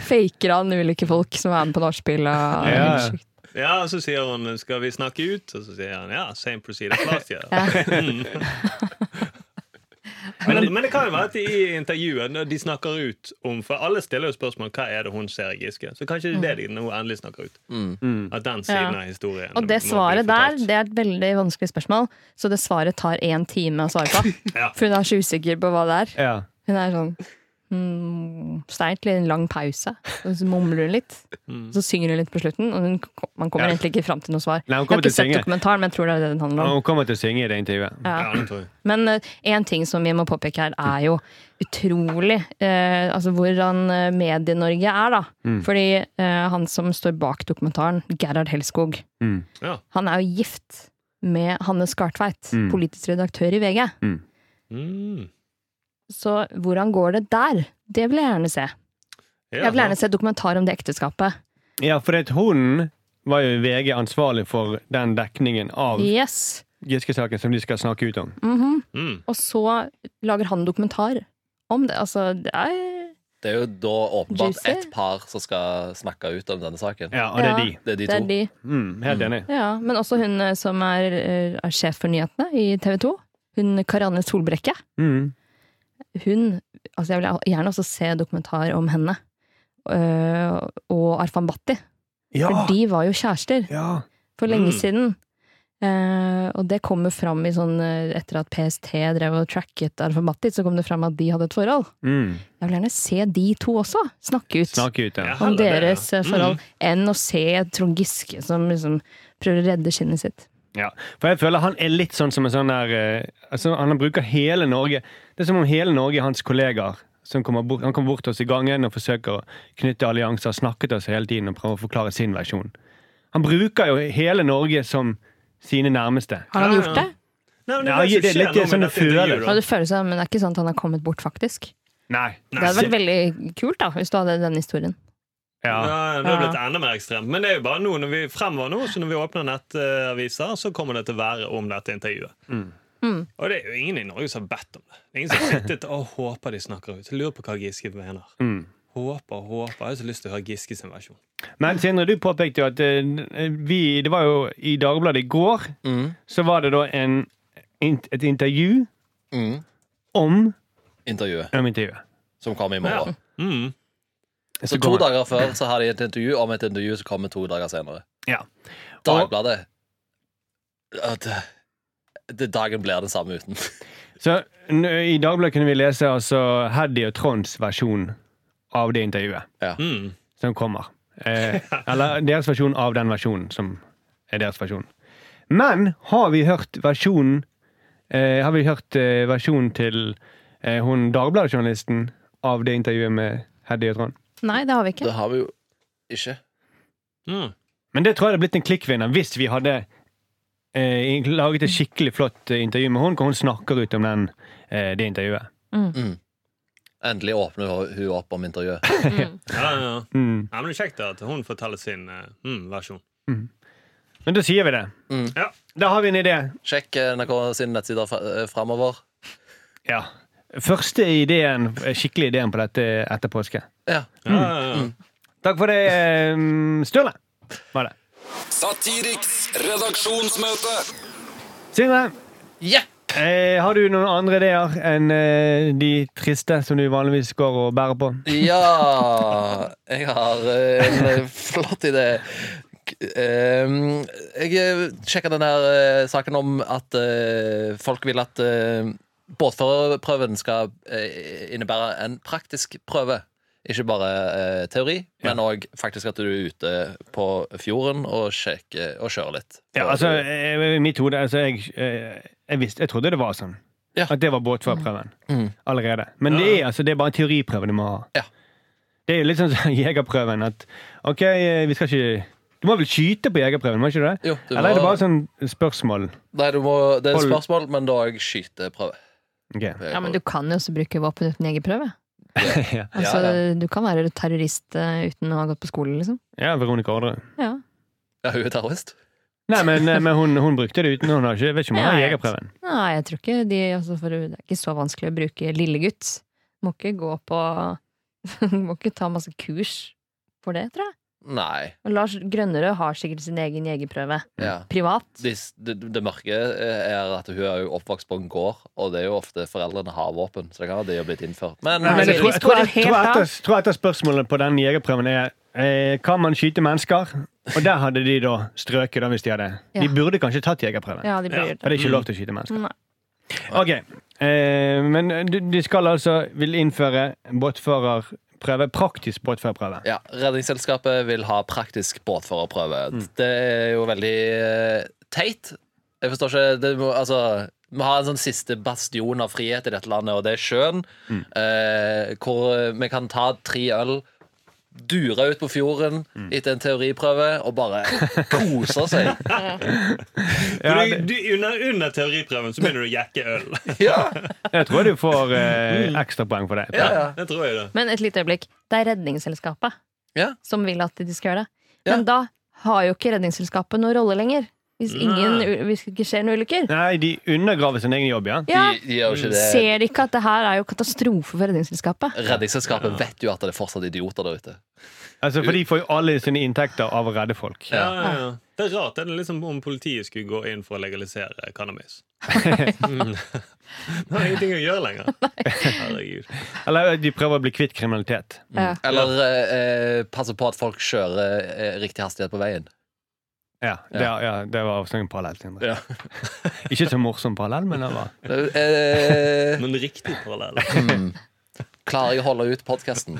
C: faker han ulike folk som er med på nachspiel. og-
D: Ja.
F: ja, og så sier hun 'Skal vi snakke ut?' Og så sier han 'Ja, same procedure as last year'.
C: Ja.
F: Mm. Men, men det kan jo være at i intervjuet når de snakker ut om For alle stiller jo spørsmål hva er det hun ser i Giske. Så kanskje det er det de nå endelig snakker ut.
D: Mm.
F: At den siden
C: Ja.
F: av historien
C: Og det
F: må bli
C: svaret der,
F: fortalt.
C: det er et veldig vanskelig spørsmål. Så det svaret tar én time å svare på.
F: Ja.
C: For hun er så usikker på hva det er.
D: Ja.
C: Hun er sånn Mm, så det er egentlig en lang pause. Og så mumler hun litt.
F: Mm.
C: Så synger hun litt på slutten, og hun, ko- man kommer
F: Ja.
C: egentlig ikke fram til noe svar.
D: Nei,
C: Jeg har
D: hun kommer
C: ikke
D: til å
C: sett
D: synge.
C: dokumentaren, men jeg tror det er det den handler om.
D: Hun kommer til å synge i det intervjuet.
C: Ja.
F: Ja, det tror jeg.
C: Men én ting som vi må påpeke her, er jo utrolig eh, altså hvordan eh, Medie-Norge er, da.
D: Mm.
C: Fordi eh, han som står bak dokumentaren, Gerhard Helskog,
D: Mm.
F: Ja.
C: han er jo gift med Hanne Skartveit,
D: Mm.
C: politisk redaktør i VG.
F: Mm.
C: Så hvordan går det der? Det vil jeg gjerne se. Jeg vil
F: Ja.
C: gjerne se dokumentar om det ekteskapet.
D: Ja, for det, hun var jo i VG ansvarlig for den dekningen av
C: Yes.
D: Giske-saken som de skal snakke ut om.
C: Mhm.
F: Mm.
C: Og så lager han dokumentar om det. Altså, det er
B: Det er jo da åpenbart
C: Juicy.
B: ett par som skal snakke ut om denne saken.
D: Ja, og det er
C: Ja.
D: de.
B: Det er de
C: det er
B: to.
C: de.
D: Mm, helt enig.
C: Ja, men også hun eh, som er, eh, er sjef for nyhetene i TV 2. Hun Karianne Solbrekke.
D: Mm.
C: Hun Altså, jeg vil gjerne også se dokumentar om henne. eh, og Arfan Bhatti.
D: Ja!
C: For de var jo kjærester
D: ja.
C: for lenge
F: Mm.
C: siden. Eh, og det kommer fram i sånn eh, Etter at PST drev og tracket Arfan Bhatti, så kom det fram at de hadde et forhold.
D: Mm.
C: Jeg vil gjerne se de to også snakke ut
D: Snakke ut, ja.
F: Ja.
C: om
F: heller det,
C: deres
F: ja. Mm.
C: eh, forhold, enn å se Trond Giske som liksom prøver å redde skinnet sitt.
D: ja. For jeg føler han er litt sånn som en sånn der eh, altså, Han bruker hele Norge Det er som om hele Norge er hans kollegaer. Som kommer bort, han kommer bort til oss i gangen og forsøker å knytte allianser, snakke til oss hele tiden og prøve å forklare sin versjon. Han bruker jo hele Norge som sine nærmeste.
C: Har han
F: Ja,
C: gjort
F: ja.
C: det?
F: Nei, men
D: Ja,
F: det, er det
D: det er
F: som skjer
D: litt
F: nå med
D: sånn
F: dette
D: det føles.
F: intervjuet,
C: Ja, det føles sånn, men det er ikke sånn at han har kommet bort, faktisk.
D: Nei.
C: Det
F: da.
C: hadde
F: Nei,
C: vært veldig kult da, hvis du hadde den historien.
D: Ja.
F: Ja, det har blitt enda mer ekstremt. Men det er jo bare noe når vi fremover nå, så når vi åpner nettaviser, så kommer det til å være om dette intervjuet.
C: Mm.
F: Og det er jo ingen i Norge som har bedt om det. Det er Ingen som har sittet og håper de snakker ut. Jeg lurer på hva Giske mener.
D: Mm.
F: Håper, håper. Jeg har så lyst til å høre Giske sin versjon.
D: Men Sindre, du påpekte jo at eh, vi Det var jo i Dagbladet i går,
B: Mm.
D: så var det da en, et intervju
B: Mm.
D: om,
B: Intervjuet
D: om intervjuet.
B: som kommer i morgen.
F: Mm.
B: Så to dager før så har de et intervju om et intervju som kommer to dager senere.
D: Ja.
B: Dagbladet At det- det- Dagen blir den samme uten.
D: Så n- i Dagbladet kunne vi lese altså Heddy og Tronds versjon av det intervjuet
F: Mm.
D: som kommer. Eh, eller deres versjon av den versjonen som er deres versjon. Men har vi hørt versjonen eh, Har vi hørt eh, versjonen til eh, hun Dagbladet-journalisten av det intervjuet med Heddy og Trond?
C: Nei, det har vi ikke.
B: Det har vi jo ikke.
F: Mm.
D: Men det tror jeg hadde blitt en klikkvinner hvis vi hadde eh, laget et skikkelig flott eh, intervju med hun, hvor hun snakker ut om den, eh, det intervjuet.
B: Endelig åpner hun- hun opp om intervjuet.
F: Ja, ja, ja.
D: Mm.
F: Ja, men det er kjekt at hun forteller sin eh, mm, versjon.
D: Men da sier vi det.
B: Mm.
F: Ja.
D: Da har vi en idé.
B: Sjekk eh, NRK sin nettsider eh, framover.
D: Ja. Første ideen, skikkelig ideen på dette etter påske.
B: Ja.
F: Ja, ja, ja.
D: Takk for det, eh, Sturle. Var det.
E: Satiriks redaksjonsmøte.
D: Sindre,
B: Jepp!
D: eh, har du noen andre ideer enn eh, de triste som du vanligvis går og bærer på?
B: Ja Jeg har eh, en flott idé. K- ehm, Jeg sjekka den her eh, saken om at eh, folk vil at eh, båtførerprøven skal eh, innebære en praktisk prøve. Ikke bare eh, teori, men òg faktisk at du er ute på fjorden og, sjekker, og kjører litt.
D: Ja, altså, eh, I mitt hode altså, jeg, eh, jeg, visste, jeg trodde det var sånn.
B: Ja.
D: At det var båtførerprøven
B: Mm.
D: allerede. Men det er, altså, det er bare en teoriprøve du må ha.
B: Ja.
D: Det er jo litt sånn som jegerprøven. At OK, eh, vi skal ikke Du må vel skyte på jegerprøven, må ikke du det?
B: Jo, du
D: Eller er det
B: må-
D: bare sånn spørsmål?
B: Nei, du må, det er et
D: Hold-
B: spørsmål, men da òg skyteprøve.
D: Ok.
C: Ja, men du kan jo også bruke våpen uten egenprøve.
D: ja.
C: Altså,
B: Ja,
C: Du kan være terrorist eh, uten å ha gått på skole, liksom.
D: ja, Veronica Orderud.
C: Ja.
B: Ja, hun er terrorist.
D: Nei, men, eh, men hun, hun brukte det uten. Hun har ikke, jeg vet ikke om hun har
C: Nei.
D: jegerprøven.
C: Nei, jeg tror ikke de altså, for Det er ikke så vanskelig å bruke lillegutt. Må ikke gå på Må ikke ta masse kurs for det, tror jeg.
B: Nei.
C: Og Lars Grønnerød har sikkert sin egen jegerprøve.
D: Mm.
B: Ja.
C: Privat.
B: det, det, det mørke eh, er at hun er jo oppvokst på en gård, og det er jo ofte foreldrene har våpen. Så det kan være det har blitt innført. Men,
D: Nei, men jeg tror, jeg tror,
C: Hvis går
D: jeg tror,
C: det helt
D: etter, tror etter spørsmålet på den jegerprøven er eh, Kan man skyte mennesker? Og der hadde de da strøket, da, hvis de hadde
C: Ja.
D: De burde kanskje tatt jegerprøven.
C: Ja, de blir Mm,
F: Ja.
D: For det er ikke lov til å skyte mennesker.
C: Nei.
D: Ok, Eh, men de, de skal altså vil innføre båtførerprøve, praktisk båtførerprøve.
B: Ja, Redningsselskapet vil ha praktisk båtførerprøve.
D: Mm.
B: Det er jo veldig eh, teit. Jeg forstår ikke det må, Altså, vi har en sånn siste bastion av frihet i dette landet, og det er sjøen.
D: Mm.
B: Eh, hvor vi kan ta tre øl, dure ut på fjorden
D: Mm.
B: etter en teoriprøve og bare kose seg.
D: Ja,
F: du, du, under, under teoriprøven så begynner du å jekke øl.
B: ja,
D: Jeg tror du får
C: Mm.
D: eh, ekstrapoeng for det.
B: ja, ja.
F: Det tror jeg det.
C: Men et lite øyeblikk. Det er Redningsselskapet
B: Ja.
C: som vil at de skal gjøre det.
B: Ja.
C: Men da har jo ikke Redningsselskapet noen rolle lenger. Hvis, ingen,
F: Nei.
C: hvis det ikke skjer noen ulykker.
D: Nei, de undergraver sin egen jobb, ja.
C: Ja.
B: De, de gjør jo ikke det.
C: Ser de ikke at det her er jo katastrofe for Redningsselskapet?
B: Redningsselskapet vet jo at det er fortsatt idioter der ute.
D: Altså, For de får jo alle sine inntekter av å redde folk.
F: Ja, ja, ja. Det er rart det er liksom om politiet skulle gå inn for å legalisere cannabis. Mm. Det har ingenting å gjøre lenger. Herregud.
D: Eller eh, de prøver å bli kvitt kriminalitet.
B: Mm.
C: Ja.
B: Eller eh, eh, passe på at folk kjører eh, riktig hastighet på veien.
D: Ja, Det, ja, det var også en parallell. Sindre.
B: Ja.
D: Ikke så morsom parallell, men det var
B: Eh,
F: Men riktig parallell.
B: Mm. Klarer jeg å holde ut podkasten?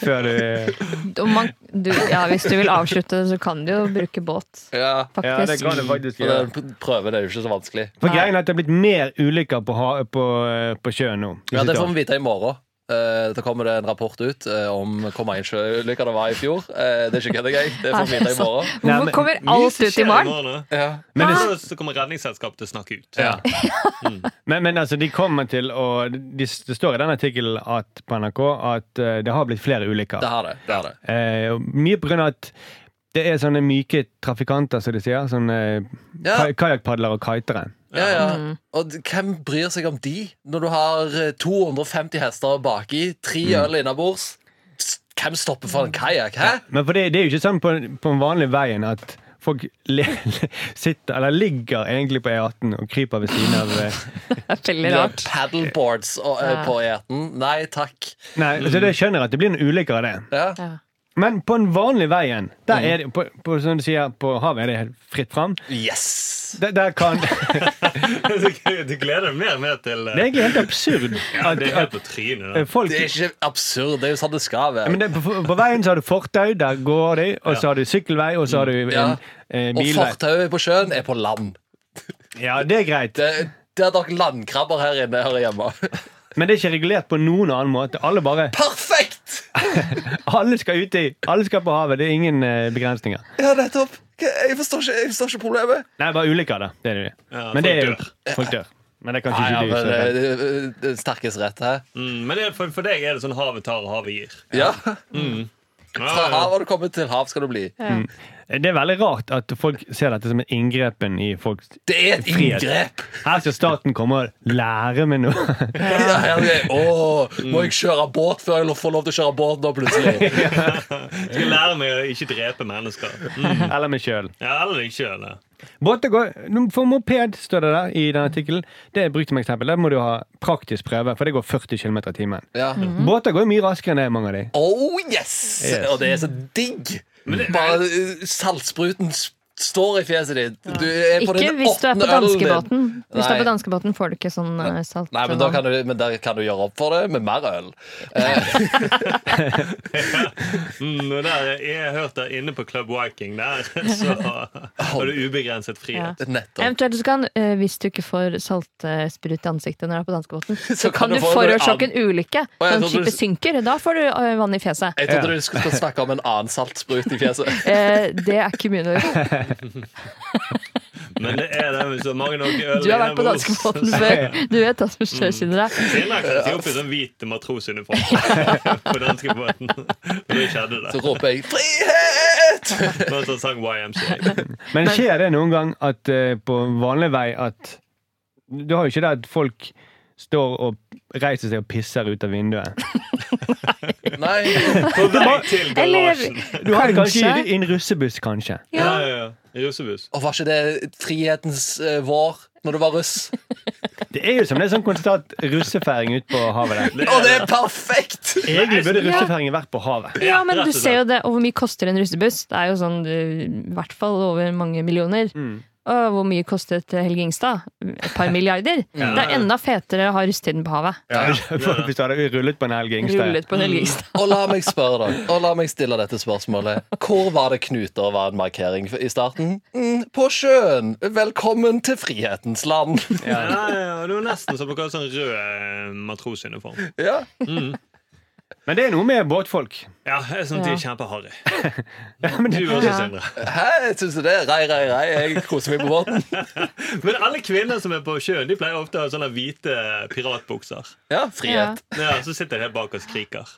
D: før du
C: Og man, du, ja, hvis du vil avslutte, så kan du jo bruke båt,
B: Ja.
D: Ja, det
C: faktisk.
D: kan du faktisk
B: For
D: gjøre.
B: den prøven er jo ikke så vanskelig.
D: For greien er at det er blitt mer ulykker på, ha- på, eh, på sjøen nå.
B: Ja, Det sånn får vi vite i morgen. Eh, da kommer det en rapport ut eh, om hvor mange sjøulykker det var i fjor. Eh, det er ikke kødd engang. Det får vi vite i morgen.
D: Nei,
C: Hvorfor
D: men-
C: kommer alt ut i morgen?
F: da.
B: Ja.
D: Men, det,
F: Så- Så kommer Redningsselskapet til å snakke ut.
B: Ja.
D: men, men altså, de kommer til å de, Det står i den artikkelen at- på NRK at eh, det har blitt flere ulykker.
B: Det har det. det, har det.
D: Eh, og mye på grunn av at det er sånne myke trafikanter, som de sier. Sånne
B: Ja.
D: ja. kajakkpadlere og kitere.
B: Ja, ja. Og d- hvem bryr seg om de når du har eh, 250 hester baki, tre øl innabords? S- Hvem stopper for en kajakk? Hæ?
D: Men for det, det er jo ikke sånn på, på den vanlige veien at folk le, sitter, eller ligger egentlig på E18 og kryper ved siden av eh,
C: Det er veldig
B: Ja,
C: rart.
B: Paddleboards og, eh, på E18? Nei takk.
D: Nei,
B: Mm.
D: altså, det skjønner jeg at det blir noen ulykker av det.
B: Ja.
C: Ja.
D: Men på den vanlige veien,
B: Mm.
D: der er det, på, på, som du sier, på havet er det helt fritt fram.
B: Yes!
D: Der, der kan, det
F: Du gleder deg mer og mer til eh,
D: er egentlig helt absurd. At,
F: Det er helt på trynet. da.
D: at folk,
B: Det er ikke absurd. Det er jo sånn det skal
D: Ja, men
B: være.
D: det, er på, på veien så har du fortau, der går de, og så har du sykkelvei, og så har du en
B: Mm. Ja.
D: eh,
B: Og
D: bilvei.
B: fortauet på sjøen er på land.
D: Ja, det er greit.
B: Det, det er dere landkrabber her inne hører hjemme.
D: Men det er ikke regulert på noen annen måte. Alle bare,
B: Perfekt!
D: alle skal uti, alle skal på havet. Det er ingen eh, begrensninger.
B: Ja, nettopp. Jeg forstår ikke, jeg forstår ikke problemet.
D: Nei, bare ulykker, da. Det er det.
F: Ja,
D: men det er,
F: folk
D: jo- folk dør. Men det er kanskje
B: Nei, ja,
D: ikke
B: men eh,
D: du. som er redd.
B: det, det- det Sterkest rett her.
F: Mm, men det, er- for, for deg er det sånn havet tar og havet gir.
B: Ja.
F: Ja,
B: Fra
F: ja.
B: hav har du kommet, til hav skal du bli.
D: Det er veldig rart at folk ser dette som en inngrepen i folks
B: Det er et
D: Frihet.
B: inngrep!
D: Her skal staten komme og lære meg noe.
B: Ja, her er jeg. Åh, må jeg kjøre båt før jeg får lov til å kjøre båt nå, plutselig?
F: Skal lære meg å ikke drepe mennesker. Mm.
D: Eller meg sjøl.
F: Ja, eller ikke gjøre det.
D: Båter går For moped, står det der i den artikkelen. Det er brukt som eksempel. Der må du ha praktisk prøve, for det går 40 km i timen.
B: Ja.
D: Båter går jo mye raskere enn det, mange av de.
B: Oh yes!
D: Yes.
B: Og det er så digg! Bare eh, saltspruten s- står i fjeset ditt. Du er på
C: Ikke
B: din
C: hvis du er på
B: åttende ølen din.
C: danskebåten. Hvis du er
B: Nei.
C: på danskebåten, får du ikke sånn eh, salt.
B: Nei, men, da kan du, men der kan du gjøre opp for det med mer øl.
F: Mm, og der, jeg har hørt der inne på Club Viking der, så har du ubegrenset frihet.
B: Nettopp.
C: Eventuelt så kan, eh, hvis du ikke får saltsprut i ansiktet når du er på danskebåten, så,
B: Så kan du
C: kan du
B: få en
C: forårsake en ulykke.
B: Å, jeg
C: Sånn
B: trodde du-
C: skipet synker. Da får du eh, vann i fjeset.
B: Jeg trodde du skulle snakke om en annen saltsprut i fjeset.
C: Eh, det er ikke mye å
F: Men det er det med så mange nok øl
C: Du har vært på
F: innover oss.
C: danskebåten før. Du vet hva som skjer, Sindre.
F: Senere kledde jeg opp i sånn hvit matrosuniform på danskebåten. Og det skjedde
B: Så
F: det.
B: roper jeg 'frihet'!
F: Det var en sånn sang YMCA.
D: Men skjer det noen gang at eh, på vanlig vei at Du har jo ikke det at folk står og reiser seg og pisser ut av vinduet.
B: Nei.
F: På vei til garasjen.
C: Eller
D: Du har det kanskje
C: Kanskje.
D: i en russebuss, kanskje.
F: Ja,
C: ja.
F: ja, ja. Russebuss.
B: Og var ikke det frihetens eh, vår når du var russ?
D: Det er jo som det er sånn konstant russefeiring ute på havet der.
B: Og det er perfekt!
D: Egentlig burde russefeiringen vært på havet.
C: Ja, men
F: rett
C: du
F: og slett.
C: ser jo det, og hvor mye koster en russebuss? Det er jo sånn, du, i hvert fall over mange millioner. Og hvor mye kostet eh, Helge Ingstad? Et par milliarder? Det er enda fetere å ha rusttiden på havet.
D: Hvis du hadde rullet på en Helge Ingstad.
C: Rullet på Helge Ingstad.
B: Og la meg spørre deg, og la meg stille dette spørsmålet. Hvor var det knuter var en markering i starten? Mm, på sjøen! Velkommen til frihetens land!
F: Ja, ja, det var nesten som å ha sånn rød eh, matrosuniform.
B: Ja.
D: Men det er noe med båtfolk.
F: Ja, jeg syns de er kjempeharry. Du også,
C: Ja.
F: Sindre.
B: Hæ, syns du det? Rei, rei, rei. Jeg koser meg på båten.
F: Men alle kvinner som er på sjøen, de pleier ofte å ha sånne hvite piratbukser.
B: Ja, frihet.
F: Ja, Så sitter de helt bak og skriker.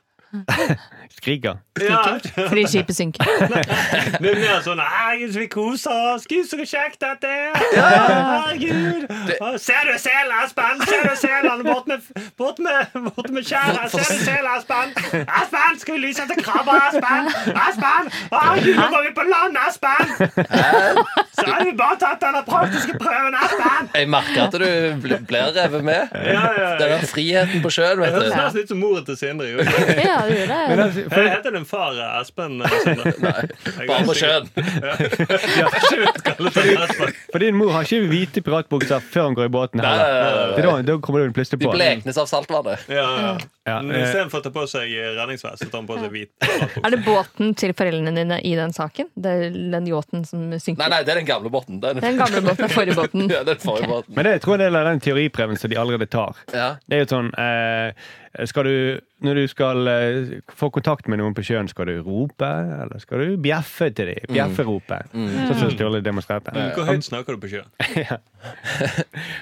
D: Skriker.
F: Ja,
C: Fordi skipet synker.
F: det er mer sånn Herregud, så vi koser oss! Gud, så kjekt dette er! Herregud! Å, Ser du selen, Espen? Ser du selen? Bort med, bort med, bort med skjæret! Ser du selen, Espen? Espen, skal vi lyse etter krabber, Espen? Espen! Å, Herregud, nå går vi på land, Espen! Så har vi bare tatt denne praktiske prøven, Espen!
B: Jeg merker at du bl- blir revet med.
F: Ja, ja,
B: Det er den friheten på sjøen, vet du.
F: Det høres nesten ut som moren til Sindre. gjorde det?
C: Ja, det gjør det.
F: Jeg heter den far eh, Espen. eh, Sindre. Jeg
B: Bare
F: er
B: på
F: sikker-
B: sjøen.
F: Sjukt kallet han Espen.
D: For din mor har ikke hvite piratbukser før hun går i båten.
B: Nei,
D: heller.
B: nei, nei,
D: Det er Da, da kommer du plutselig
B: De
D: på.
B: bleknes av saltvannet.
F: Ja, ja.
D: Ja,
F: Men
D: eh,
F: Istedenfor å ta på seg redningsvest, så tar han på seg hvit. piratbukse.
C: Er det båten til foreldrene dine i den saken? Det er den yachten som synker?
B: Nei, nei, det er den gamle båten. Det er
C: Den gamle båten er forrige båten.
B: Ja, den forrige båten.
D: Men det jeg tror jeg er en del av den teoriprøven som de allerede tar.
B: Ja.
D: Det er jo sånn eh, skal du, Når du skal eh, få kontakt med noen på sjøen, skal du rope, eller skal du bjeffe til dem? Bjefferope. Sånn som Sturle demonstrerte.
F: Hvor høyt snakker du på sjøen?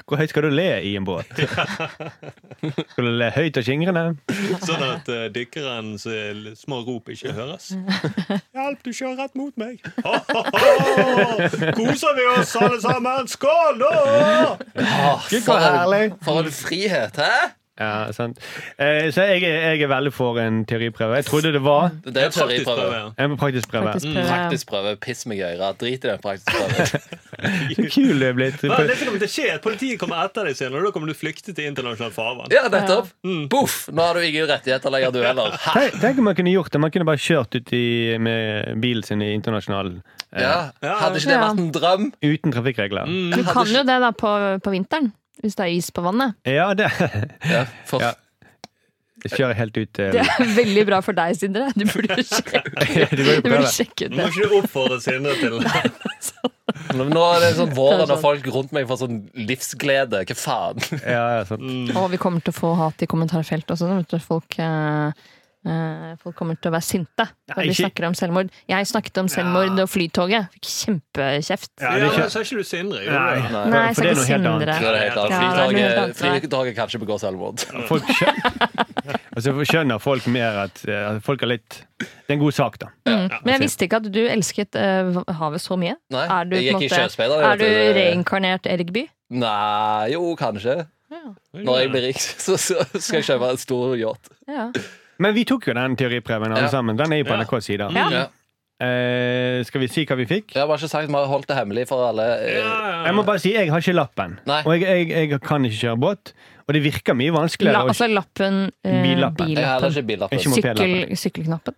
D: Hvor høyt skal du le i en båt? Skal du le høyt og skingrende?
F: Sånn at uh, dykkerens eh, l- små rop ikke høres? Hjelp, du kjører rett mot meg! Ho, ho, ho! Koser vi oss alle sammen? Skål, da!
B: Åh,
D: Gud,
B: for,
D: hvor herlig.
B: en, for en frihet, hæ?
D: Ja, sant. Eh, så jeg, er- jeg er veldig for en teoriprøve. Jeg trodde det var
B: Det er en
F: Praktisk
B: teoriprøve.
F: prøve.
D: en praktisk prøve.
C: Mm, Faktisk prøve.
B: Praktisk prøve. Piss meg i øret. Drit i den praktiske prøven.
D: Så kul det er blitt.
F: Hva er det som kommer til å skje? Politiet kommer etter deg senere, og da kommer du flykte til internasjonalt farvann.
B: Ja, nettopp.
C: Mm.
B: Boff! Nå har du ingen rettigheter lenger, du heller. Hæ?
D: Tenk, tenk om man kunne gjort det. Man kunne bare kjørt ut i, med bilen sin i internasjonal eh,
B: Ja. Hadde ikke det vært en drøm?
D: uten trafikkregler.
F: Mm.
C: Du kan jo det da på, på vinteren. Hvis det er is på vannet.
D: Ja, det
B: Ja, for,
D: Ja. Jeg kjører helt ut til
C: Det er veldig bra for deg, Sindre. Du burde sjekke,
D: Du må
C: du
D: jo
C: burde
D: prøve.
C: sjekke ut
F: Nå
C: det.
F: må ikke du oppfordre Sindre til det.
B: Nå er det sånn våren, og
C: Kanskje.
B: folk rundt meg får sånn livsglede. Hva faen?
D: Ja, ja, sant.
C: Og vi kommer til å få hat i kommentarfeltet også. nå vet du. Folk, eh, eh, folk kommer til å være sinte når
D: Nei,
C: vi
D: ikke-
C: snakker om selvmord. Jeg snakket om selvmord og Flytoget. Fikk kjempekjeft.
F: Ja,
D: det er ikke-
F: men Sa ikke du Sindre? gjorde du det?
D: Nei,
C: Nei,
D: for
C: så
D: det
C: ikke
D: er noe helt
C: Sindre.
D: annet.
B: Det er det helt
C: Ja, det er noe helt
B: annet.
C: annet.
B: Flytoget kanskje begår selvmord.
D: Folk skjønner, altså, skjønner folk mer at eh, folk er litt Det er en god sak, da.
C: Mm. Men jeg visste ikke at du elsket eh, havet så mye.
B: Nei,
C: er du,
B: jeg
C: på en
B: gikk i
C: måte-
B: sjøspeider,
C: Er
B: vet
C: du
B: du.
C: reinkarnert Erik Bye?
B: Nei, jo, kanskje. Når jeg blir rik, så, så skal jeg kjøpe en stor yacht.
C: Ja.
D: Men vi tok jo den teoriprøven, alle
B: Ja.
D: sammen. Den er jo på
F: Ja.
D: NRKs side.
C: Ja.
B: Ja.
D: Eh, skal vi si hva vi fikk?
B: Jeg har bare ikke sagt, vi har holdt det hemmelig for alle.
F: Ja,
B: eh,
F: ja,
D: Jeg må bare si, jeg har ikke lappen.
B: Nei.
D: Og jeg, jeg, jeg kan ikke kjøre båt. Og det virker mye
C: La,
D: vanskeligere. å-
C: altså lappen, eh,
D: Billappen.
B: Jeg har heller
C: billappen.
B: ikke billappen.
D: Ikke må-
C: Sykkel, sykkelknappen.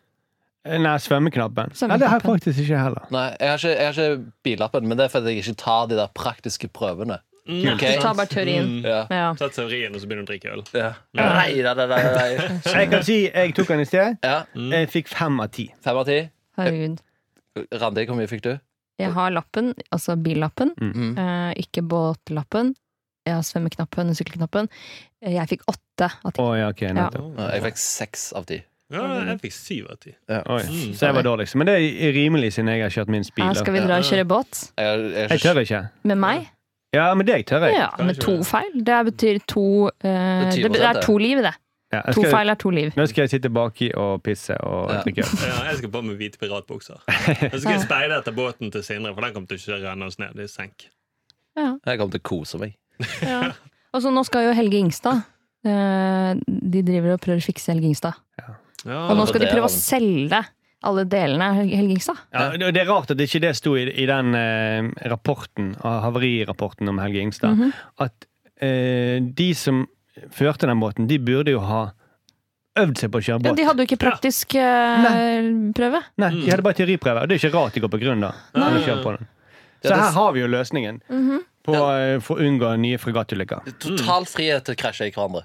D: Nei, svømmeknappen.
C: Svømmeknappen.
D: Nei, det har jeg faktisk ikke heller.
B: Nei, jeg har, ikke, jeg har ikke billappen, men det er fordi jeg ikke tar de der praktiske prøvene.
F: Mm.
B: Ok?
C: Ta bare teorien.
B: Ja.
C: Ja.
F: Ta teorien, og så begynner du å drikke øl.
B: Mm. Ja. Nei, nei, nei, nei, nei.
D: Jeg kan si jeg tok den i sted.
B: Ja,
F: Mm.
D: Jeg fikk fem av ti.
B: Fem av ti.
C: Herregud.
B: Randi, hvor mye fikk du?
C: Jeg har lappen, altså billappen,
B: Mm.
C: eh, ikke båtlappen. Jeg har svømmeknappen og sykkelknappen. Eh, Jeg fikk åtte av ti.
D: Å ja, ok, nettopp.
F: Sånn,
B: Ja, Jeg fikk seks av ti.
F: Ja, jeg fikk syv av ti.
D: Oi.
B: Mm.
D: Så jeg var dårligst. Men det er rimelig, siden jeg har kjørt minst bil.
C: Her
D: da.
C: skal vi dra og kjøre båt
B: Jeg, jeg,
D: Jeg tør ikke.
C: med meg.
D: Ja, men deg tør jeg.
C: Ja, med to feil. Det betyr to eh,
B: Det er
C: Det det er to liv, det.
D: Ja, jeg
C: To
D: skal,
C: feil er to liv.
D: nå skal jeg sitte baki og pisse og
B: Ja.
D: drikke øl.
F: Ja, jeg skal på med hvite piratbukser. Og så skal jeg speide etter båten til Sindre, for den kommer til å renne oss ned. Det er senk.
B: jeg kommer til å kose meg.
C: Ja. Og så nå skal jo Helge Ingstad eh, De driver og prøver å fikse Helge Ingstad. Og nå skal de prøve å selge alle delene av Helge Ingstad.
D: Ja, og det er rart at ikke det sto i, i den eh, rapporten, ah, havarirapporten om Helge Ingstad,
C: Mhm.
D: at eh, de som førte den båten, de burde jo ha øvd seg på å kjøre
C: Ja,
D: båt.
C: de hadde jo ikke praktisk eh, prøve.
B: Mm.
D: Nei, de hadde bare teoriprøve. Og det er ikke rart de går på grunn, da. Når de kjører på den.
B: Ja,
D: Så
B: det-
D: her har vi jo løsningen
C: Mhm.
D: på eh, for å unngå nye fregattulykker.
B: Total frihet til å krasje i hverandre.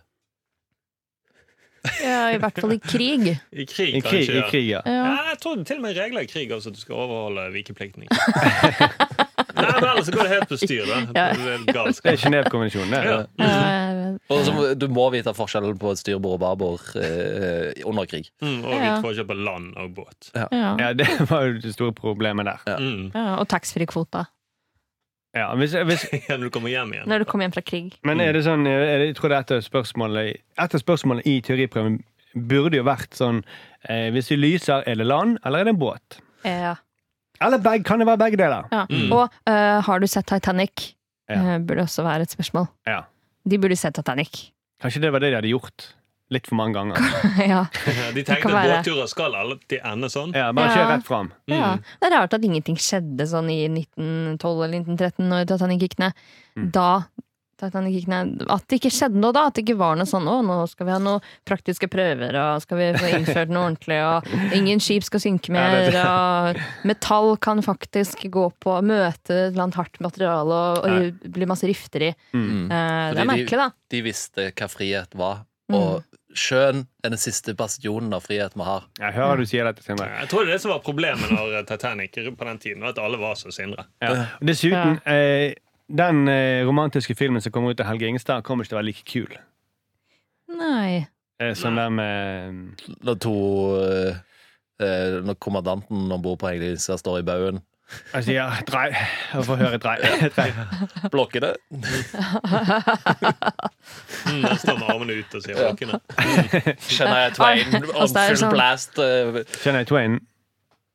C: Ja, I hvert fall i krig.
F: I krig,
D: I krig,
F: kanskje.
D: i krig ja.
C: Ja.
F: Ja, jeg tror til og med regler i krig også at du skal overholde vikeplikten. Ikke? Nei, men ellers så går det helt på styr, da. Det
C: Ja.
F: er galskap.
D: Det er Genévekonvensjonen, det.
F: Ja.
C: Eh,
B: Og så, må- du må vite forskjellen på et styrbord og babord eh, under krig.
F: Mm, og vi
C: Ja.
F: får kjøpe land og båt.
C: ja.
D: Ja, det var jo det store problemet der.
F: Mm.
C: Ja, og taxfree-kvota
D: Ja, hvis, hvis,
F: Ja, når du kommer hjem igjen.
C: når du kommer hjem fra krig.
D: men er det sånn er det, Jeg tror det er et av spørsmålene Et av spørsmålene i teoriprøven burde jo vært sånn eh, Hvis vi lyser, er det land, eller er det en båt?
C: Ja.
D: Eller beg, kan det være begge deler?
C: Ja.
F: Mm.
C: Og eh, har du sett Titanic?
D: Ja.
C: Eh, burde også være et spørsmål.
D: Ja.
C: De burde sett Titanic.
D: Kanskje det var det de hadde gjort litt for mange ganger.
C: ja.
F: De
C: kan
F: tenkte at
C: være-
F: båtturer skal alltid ende sånn.
D: Ja, Bare kjør
C: Ja.
D: rett fram.
C: ja. Det er rart at ingenting skjedde sånn i 1912 eller 1913 når Titanic gikk ned.
D: Mm.
C: Da Titanic gikk ned. At det ikke skjedde noe da. At det ikke var noe sånn 'Å, nå skal vi ha noen praktiske prøver', og 'skal vi få innført noe ordentlig', og 'ingen skip skal synke mer', og 'metall kan faktisk gå på møte et eller annet hardt materiale', og, og bli masse rifter i. Eh,
D: Mm.
C: det er
B: Fordi de-
C: merkelig, da.
B: De visste hva frihet var. Og sjøen er den siste bastionen av frihet vi har.
D: Jeg hører du sier dette, Sindre.
F: Jeg tror det er det som var problemet når Titanic på den tiden, var at alle var så sindre.
D: Ja. Dessuten, eh, den eh, romantiske filmen som kommer ut av Helge Ingstad, kommer ikke til å være like kul
C: Nei.
D: eh, som den med
B: Når to eh, eh, Når kommandanten om bord på Hengelisa står i baugen.
D: Jeg sier drei. altså, Jeg får høre drei. drei.
B: Blokkene.
F: Mm, jeg står med armene ut og sier våkne.
B: Kjenner jeg Twain om
C: Altså, det er
B: full
C: sånn-
B: blast. eh,
D: Kjenner jeg Twain?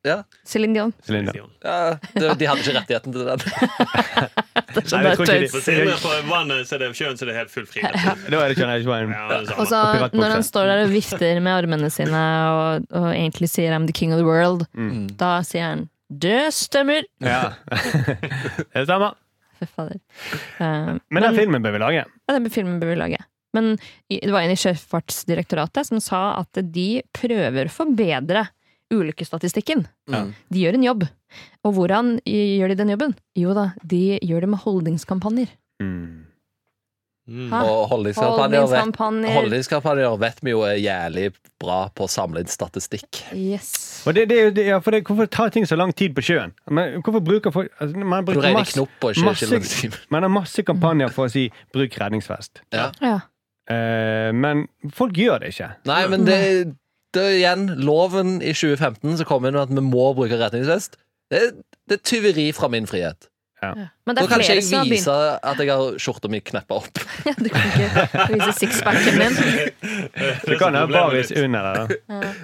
B: Ja,
C: Céline Dion.
D: Linda.
B: ja de, de hadde ikke rettigheten til den.
C: sånn
D: Nei, jeg tror
F: For
D: ikke
F: siden
D: de.
F: det er på vannet, så er det sjøen, så er det helt full frihet.
D: Da er det Kjenner jeg Twain.
F: Ja, det er det
C: Og så
F: samme.
D: piratbokse.
C: når han står
B: Mm.
C: der og vifter med armene sine og, og egentlig sier 'I'm the king of the world',
B: Mm.
C: da sier han 'det stemmer'.
D: Ja. Det stemmer.
C: Fy fader. Eh,
D: Men den filmen bør vi lage.
C: ja, den filmen bør vi lage. Men i- det var en i Sjøfartsdirektoratet som sa at de prøver å forbedre ulykkesstatistikken.
B: Ja.
C: De gjør en jobb. Og hvordan gjør de den jobben? Jo da, de gjør det med holdningskampanjer.
D: Mm.
F: Mm.
C: Hæ?
B: Og holdningskampanjer vet,
C: Holdningskampanjer.
B: holdningskampanjer vet vi jo er jævlig bra på å samle inn statistikk.
C: Yes.
D: Og det, det, er jo- det, ja, for det, hvorfor tar ting så lang tid på sjøen? Men, hvorfor bruker folk altså, Man
B: Du
D: bruker
B: regner
D: masse,
B: knopp og ikke
D: masse,
B: kilometer.
D: man har masse kampanjer for å si 'bruk redningsvest'.
B: Ja.
C: Ja.
D: Eh, men folk gjør det ikke.
B: Nei, men det, det er igjen loven i 2015 som kom inn med at vi må bruke retningsvest. Det, er- det er tyveri fra min frihet.
C: Men det
B: Da
C: er
B: kan ikke
C: flere
B: jeg
C: som har begynt
B: vise at jeg har skjorta mi kneppa opp.
C: Ja, du kan ikke vise sixpacken din. Eh,
D: Du kan ha baris under der. da.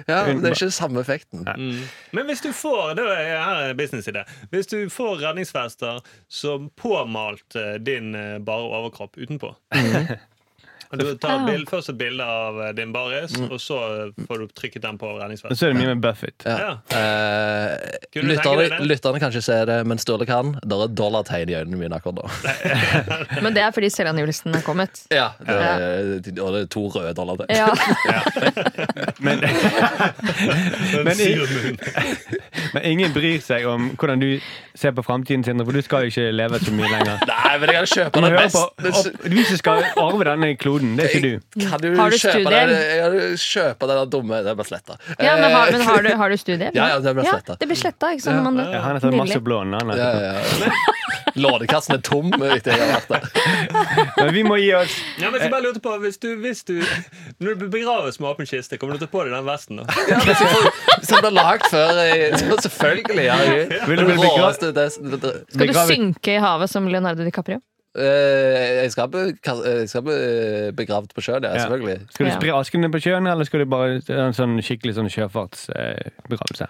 B: Ja, men Det er ikke samme effekten.
F: Mm. Men hvis du får det er her er en businessidé. Hvis du får redningsvester som påmalt eh, din eh, bare overkropp utenpå
D: Mhm.
F: Og Du tar et bild, først et bilde av eh, din baris,
D: Mm.
F: og så eh, får du trykket den på
D: Og
F: redningsvesten.
D: så er det mye med Buffett.
F: Ja.
B: Eh,
F: Kunne du tenke
B: lytterne,
F: deg det?
B: lytterne kan ikke se det, men Sturle kan. Det er dollartegn i øynene mine akkurat nå.
C: Men det er fordi selvangivelsen er kommet.
B: Ja, det er, Og det er to røde dollartegn.
C: Ja.
D: Men, men, i-
F: Sier du.
D: men ingen bryr seg om hvordan du ser på framtiden, Sindre, for du skal jo ikke leve så mye lenger.
B: Nei, men jeg kan kjøpe
D: Du,
B: den
D: hører
B: best.
D: på, opp, du som skal arve denne kloden, det er ikke du.
B: Kan du,
C: Har du
B: kjøpe
C: studier?
B: den, jeg kan kjøpe den dumme Det ble sletta.
C: Ja, men har, men har, du, har du studiet?
B: Ja, ja, det ble slettet.
C: det blir sletta, ikke sant?
B: Ja.
C: når man-
D: Ja, han har tatt masse
C: Nydelig.
D: blån. Han har.
B: Ja, ja, ja. Lånekassen er tom etter jeg har vært der.
D: sånn. Men vi må gi oss.
F: Ja,
D: Eh.
F: men så bare lurte på, hvis du, hvis du Når du begraves med åpen kiste, kommer du til å på deg den vesten? da?
B: Ja, hvis jeg får- Som det er lagd før. jeg- så Selvfølgelig. Ja, jeg,
D: Vil du bli
B: det
D: begra-
B: råeste det, det,
C: Skal du
D: Begravet.
C: synke i havet som Leonardo DiCaprio?
B: Eh, jeg, skal be, jeg skal bli eh, begravd på sjøen, ja,
D: Ja.
B: selvfølgelig.
D: Skal du
C: Ja.
D: spre asken din på sjøen, eller skal du bare ha en sånn skikkelig sånn sjøfartsbegravelse?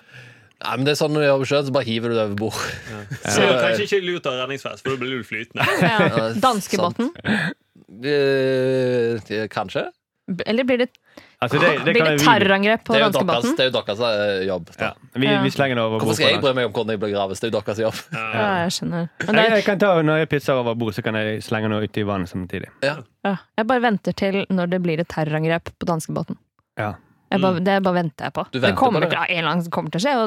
B: Nei, men det er sånn Når du gjør på sjøen, så bare hiver du det over bord.
F: Så det er kanskje ikke lurt å ha redningsvest, for da blir du flytende.
B: Ja,
C: Danskebåten?
B: Eh, eh, kanskje.
C: B- Eller blir det,
D: Altså, det, det
C: blir
D: kan
C: det
D: vi-
C: terrorangrep på
B: Det er jo deres,
C: danskebåten?
B: det er jo deres eh, jobb. Da.
D: Ja, vi, vi slenger det over
B: Hvorfor
D: bord.
B: skal jeg
D: på den.
B: bry meg om hvordan jeg blir gravet? Det er jo deres jobb.
C: Ja, jeg skjønner. Men
D: Jeg, jeg
C: det er,
D: kan ta, når jeg pisser over bord, så kan jeg slenge noe uti vannet samtidig.
B: Ja.
C: ja, jeg bare venter til når det blir et terrorangrep på danskebåten.
D: Ja.
C: Jeg Jeg bare, det bare venter jeg på.
B: Mm. Du
C: det
B: venter på
C: kommer
B: det,
C: til, en eller annen som kommer til å skje. Og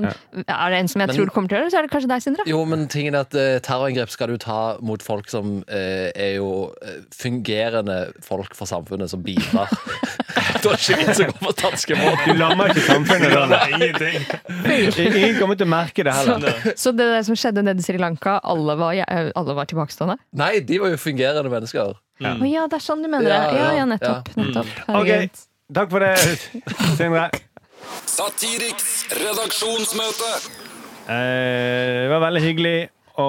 C: Er det en som jeg
B: Men-
C: tror kommer til å gjøre det, så er det kanskje deg, Sindre.
B: Jo, men tingen er at eh, terrorangrep skal du ta mot folk som eh, er jo eh, fungerende folk for samfunnet, som bidrar. da er det ikke vits å gå på danskebåten.
D: Du lammer ikke samfunnet da. nei.
F: Nei, ingenting.
D: Ingen kommer til å merke det heller.
F: Nei.
C: Så det der som skjedde nede i Sri Lanka, alle var, ja, alle var tilbakestående?
B: Nei, de var jo fungerende mennesker.
C: Å ja, det er sånn du mener det.
B: Ja, Mm.
C: Ja,
B: ja,
C: ja, nettopp. nettopp.
D: Ok,
C: Herregud.
D: takk for det, Sindre.
E: Satiriks redaksjonsmøte.
D: Eh, Det var veldig hyggelig å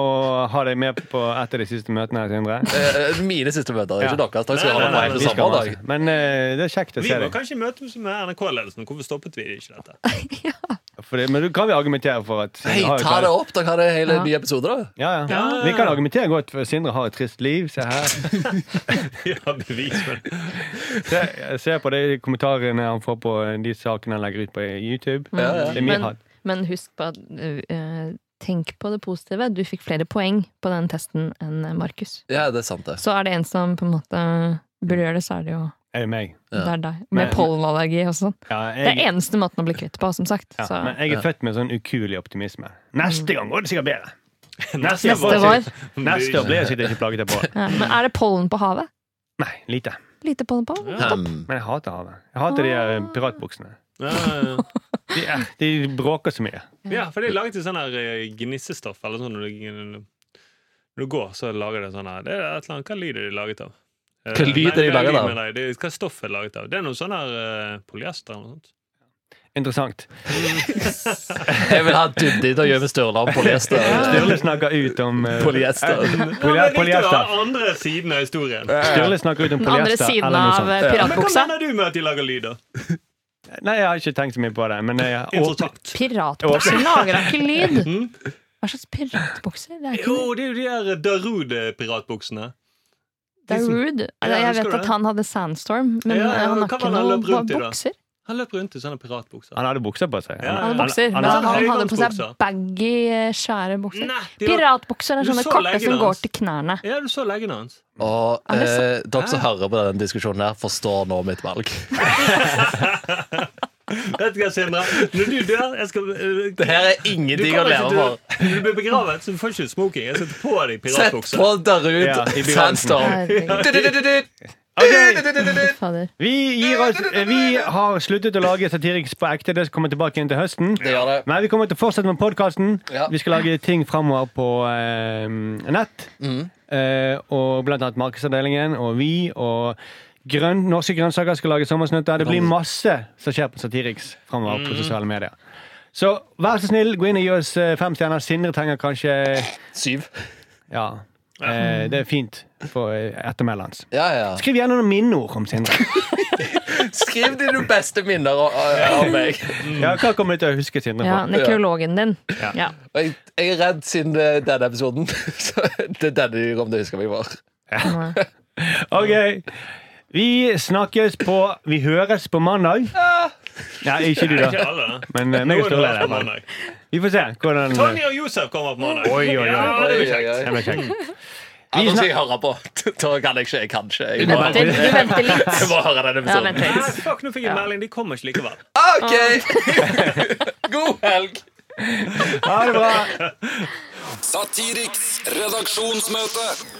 D: ha deg med på et av de siste møtene her, Sindre.
B: Eh, mine siste møter,
D: Ja.
B: ikke deres. Dere skal
F: Nei,
B: ha
F: nei, nei,
B: meg
F: nei,
B: til
D: Vi skal ha
B: sommerdag.
D: det. Men eh, det er kjekt å
F: Vi
D: se
F: må
D: deg.
F: kanskje møte oss med NRK-ledelsen. Hvorfor stoppet vi ikke dette?
D: For det, men du kan vi argumentere for at Sindre
B: Hei,
D: har jo
B: ta
D: klart-
B: det opp! Dere har det hele
C: Ja.
B: nye episoder, da.
D: Ja, ja.
F: Ja.
D: Vi kan argumentere godt, for Sindre har et trist liv. Se her.
F: Vi har bevis for det.
D: Se, se på de kommentarene han får på de sakene han legger ut på YouTube.
B: Ja, ja.
D: Det er mye
C: Men,
D: hat.
C: men husk på at eh, Tenk på det positive. Du fikk flere poeng på den testen enn Markus.
B: Ja, det er sant, det.
C: Så er det en som på en måte burde gjøre det, så er det jo
D: Er det meg?
B: Ja.
C: det er deg.
D: Men-
C: Med pollenallergi og sånn.
D: Ja,
C: Det er
D: jeg,
C: eneste måten å bli kvitt på, som sagt.
D: ja,
C: Så.
D: men jeg er født med sånn ukuelig optimisme. Neste gang går det sikkert bedre. Neste,
C: Neste var.
D: Neste år blir jeg sikkert ikke plaget på.
C: Ja, men er det pollen på havet?
D: Nei, lite.
C: Lite pollen på havet?
B: Hmm.
D: Men jeg hater havet. Jeg hater de eh, piratbuksene.
F: Ja, ja, ja.
D: De, er, de bråker så mye.
F: ja, for det er laget i sånn her eh, gnissestoff. Eller sånn når du, når du går, så lager det sånn her. Det er et eller annet, hva lyd er de laget av? Eh,
B: Hva lyd
F: nei,
B: er de
F: hva
B: laget
F: lyd
B: av?
F: mener jeg? Det er- Hva stoff er det laget av? Det er noe sånn her eh, polyester eller noe sånt.
D: Interessant.
B: Jeg vil ha Duddi til å gjøre med Sturla om polyester.
D: Sturle snakker ut om eh,
B: Polyester.
D: eh,
F: Ja, men
D: poly-
F: jeg likte å
D: Polyester.
F: ha andre siden av historien.
D: Sturle snakker ut om
C: Den andre
D: polyester.
C: siden
D: Eller noe
C: av
D: sånt.
C: eh,
F: Men hva
C: piratbuksa.
F: mener du med at de lager lyder?
D: Nei, jeg har ikke tenkt så mye på det. Men eh, jeg åpner,
F: Interessant. Hm?
C: Piratbukser lager da ikke lyd! Hva slags piratbukser? Det er ikke
F: Jo, det er jo de der Darude-piratbuksene.
C: Det er rude. Altså,
F: Ja,
C: jeg
F: husker
C: vet
F: du
C: at
F: det?
C: han hadde sandstorm, men
F: Ja, ja,
C: eh, han har
F: men hva
C: ikke
F: var det han
C: noe
F: løp rundt i da?
C: bukser.
F: Han løp rundt i sånne piratbukser.
D: han hadde bukser på seg.
F: Ja, ja.
C: Han hadde bukser,
D: han-
C: men han,
F: han-
C: hadde på seg
F: høyvannsbukser.
C: baggy, eh, svære bukser.
F: Nei, de var-
C: Piratbukser er
F: Du
C: sånne
F: så
C: korte
F: leggen
C: som
F: hans.
C: går til knærne.
F: Ja, du så leggene hans.
B: Og
C: Er det
B: eh,
C: sant?
B: dere som hører på denne diskusjonen her, forstår nå mitt valg.
F: Vet du hva, Sindre? Når du dør, jeg skal øh,
B: Det her er
F: du
B: ingenting å
F: kommer
B: leve
F: ikke
B: for.
F: til- Når du blir begravet, så du får ikke smoking. Jeg setter på deg
B: Sett
F: piratbukser.
B: på Darud
D: Ja, i begynnelsen.
B: Sandstorm.
C: Herregud, fader.
D: Vi, gir oss, eh, vi har sluttet å lage Satiriks på ekte. Det kommer tilbake igjen til høsten.
B: Det gjør det.
D: Men vi kommer til å fortsette med podkasten.
B: Ja.
D: Vi skal lage ting framover på eh, nett. Eh, og blant annet Markedsavdelingen og vi og grønn, Norske grønnsaker skal lage sommersnutter. Det blir masse som skjer på Satiriks framover på sosiale medier. Så vær så snill, gå inn og gi oss eh, fem stjerner. Sindre trenger kanskje
B: Syv.
D: Ja. Eh, det er fint for eh, ettermælet hans.
B: Ja, ja.
D: Skriv gjerne noen minneord om Sindre.
B: Skriv dine beste minner av, av meg.
D: Ja, hva kommer du til å huske Sindre
C: Ja,
D: for?
C: nekrologen din. Ja.
B: Og Jeg, jeg er redd siden det er denne episoden. Så det er denne de kommer til å huske meg for.
D: Ok, vi snakkes på Vi høres på mandag. Nei, ikke du,
F: Ikke
D: da.
F: alle, da.
D: Men eh, meg
F: Noen
D: og Sturle er
F: på
D: der. men
F: mandag.
D: Vi får se hvordan
F: Tony og Josef kommer på mandag.
D: Oi, oi, oi.
F: Ja, det blir
B: Oi,
F: kjekt.
B: oi, oi.
D: Det blir kjekt.
B: Ja,
D: Vi
B: nå skal
D: snak-
B: jeg høre på. Da kan jeg ikke. Jeg kan ikke. Jeg
C: Du
B: må,
C: venter, du venter litt.
B: jeg må høre denne
C: Ja,
B: episoden.
C: vent litt.
F: Nei, fuck, nå fikk jeg melding. De kommer ikke likevel.
B: OK! God helg.
D: Ha det bra.
E: Satiriks redaksjonsmøte.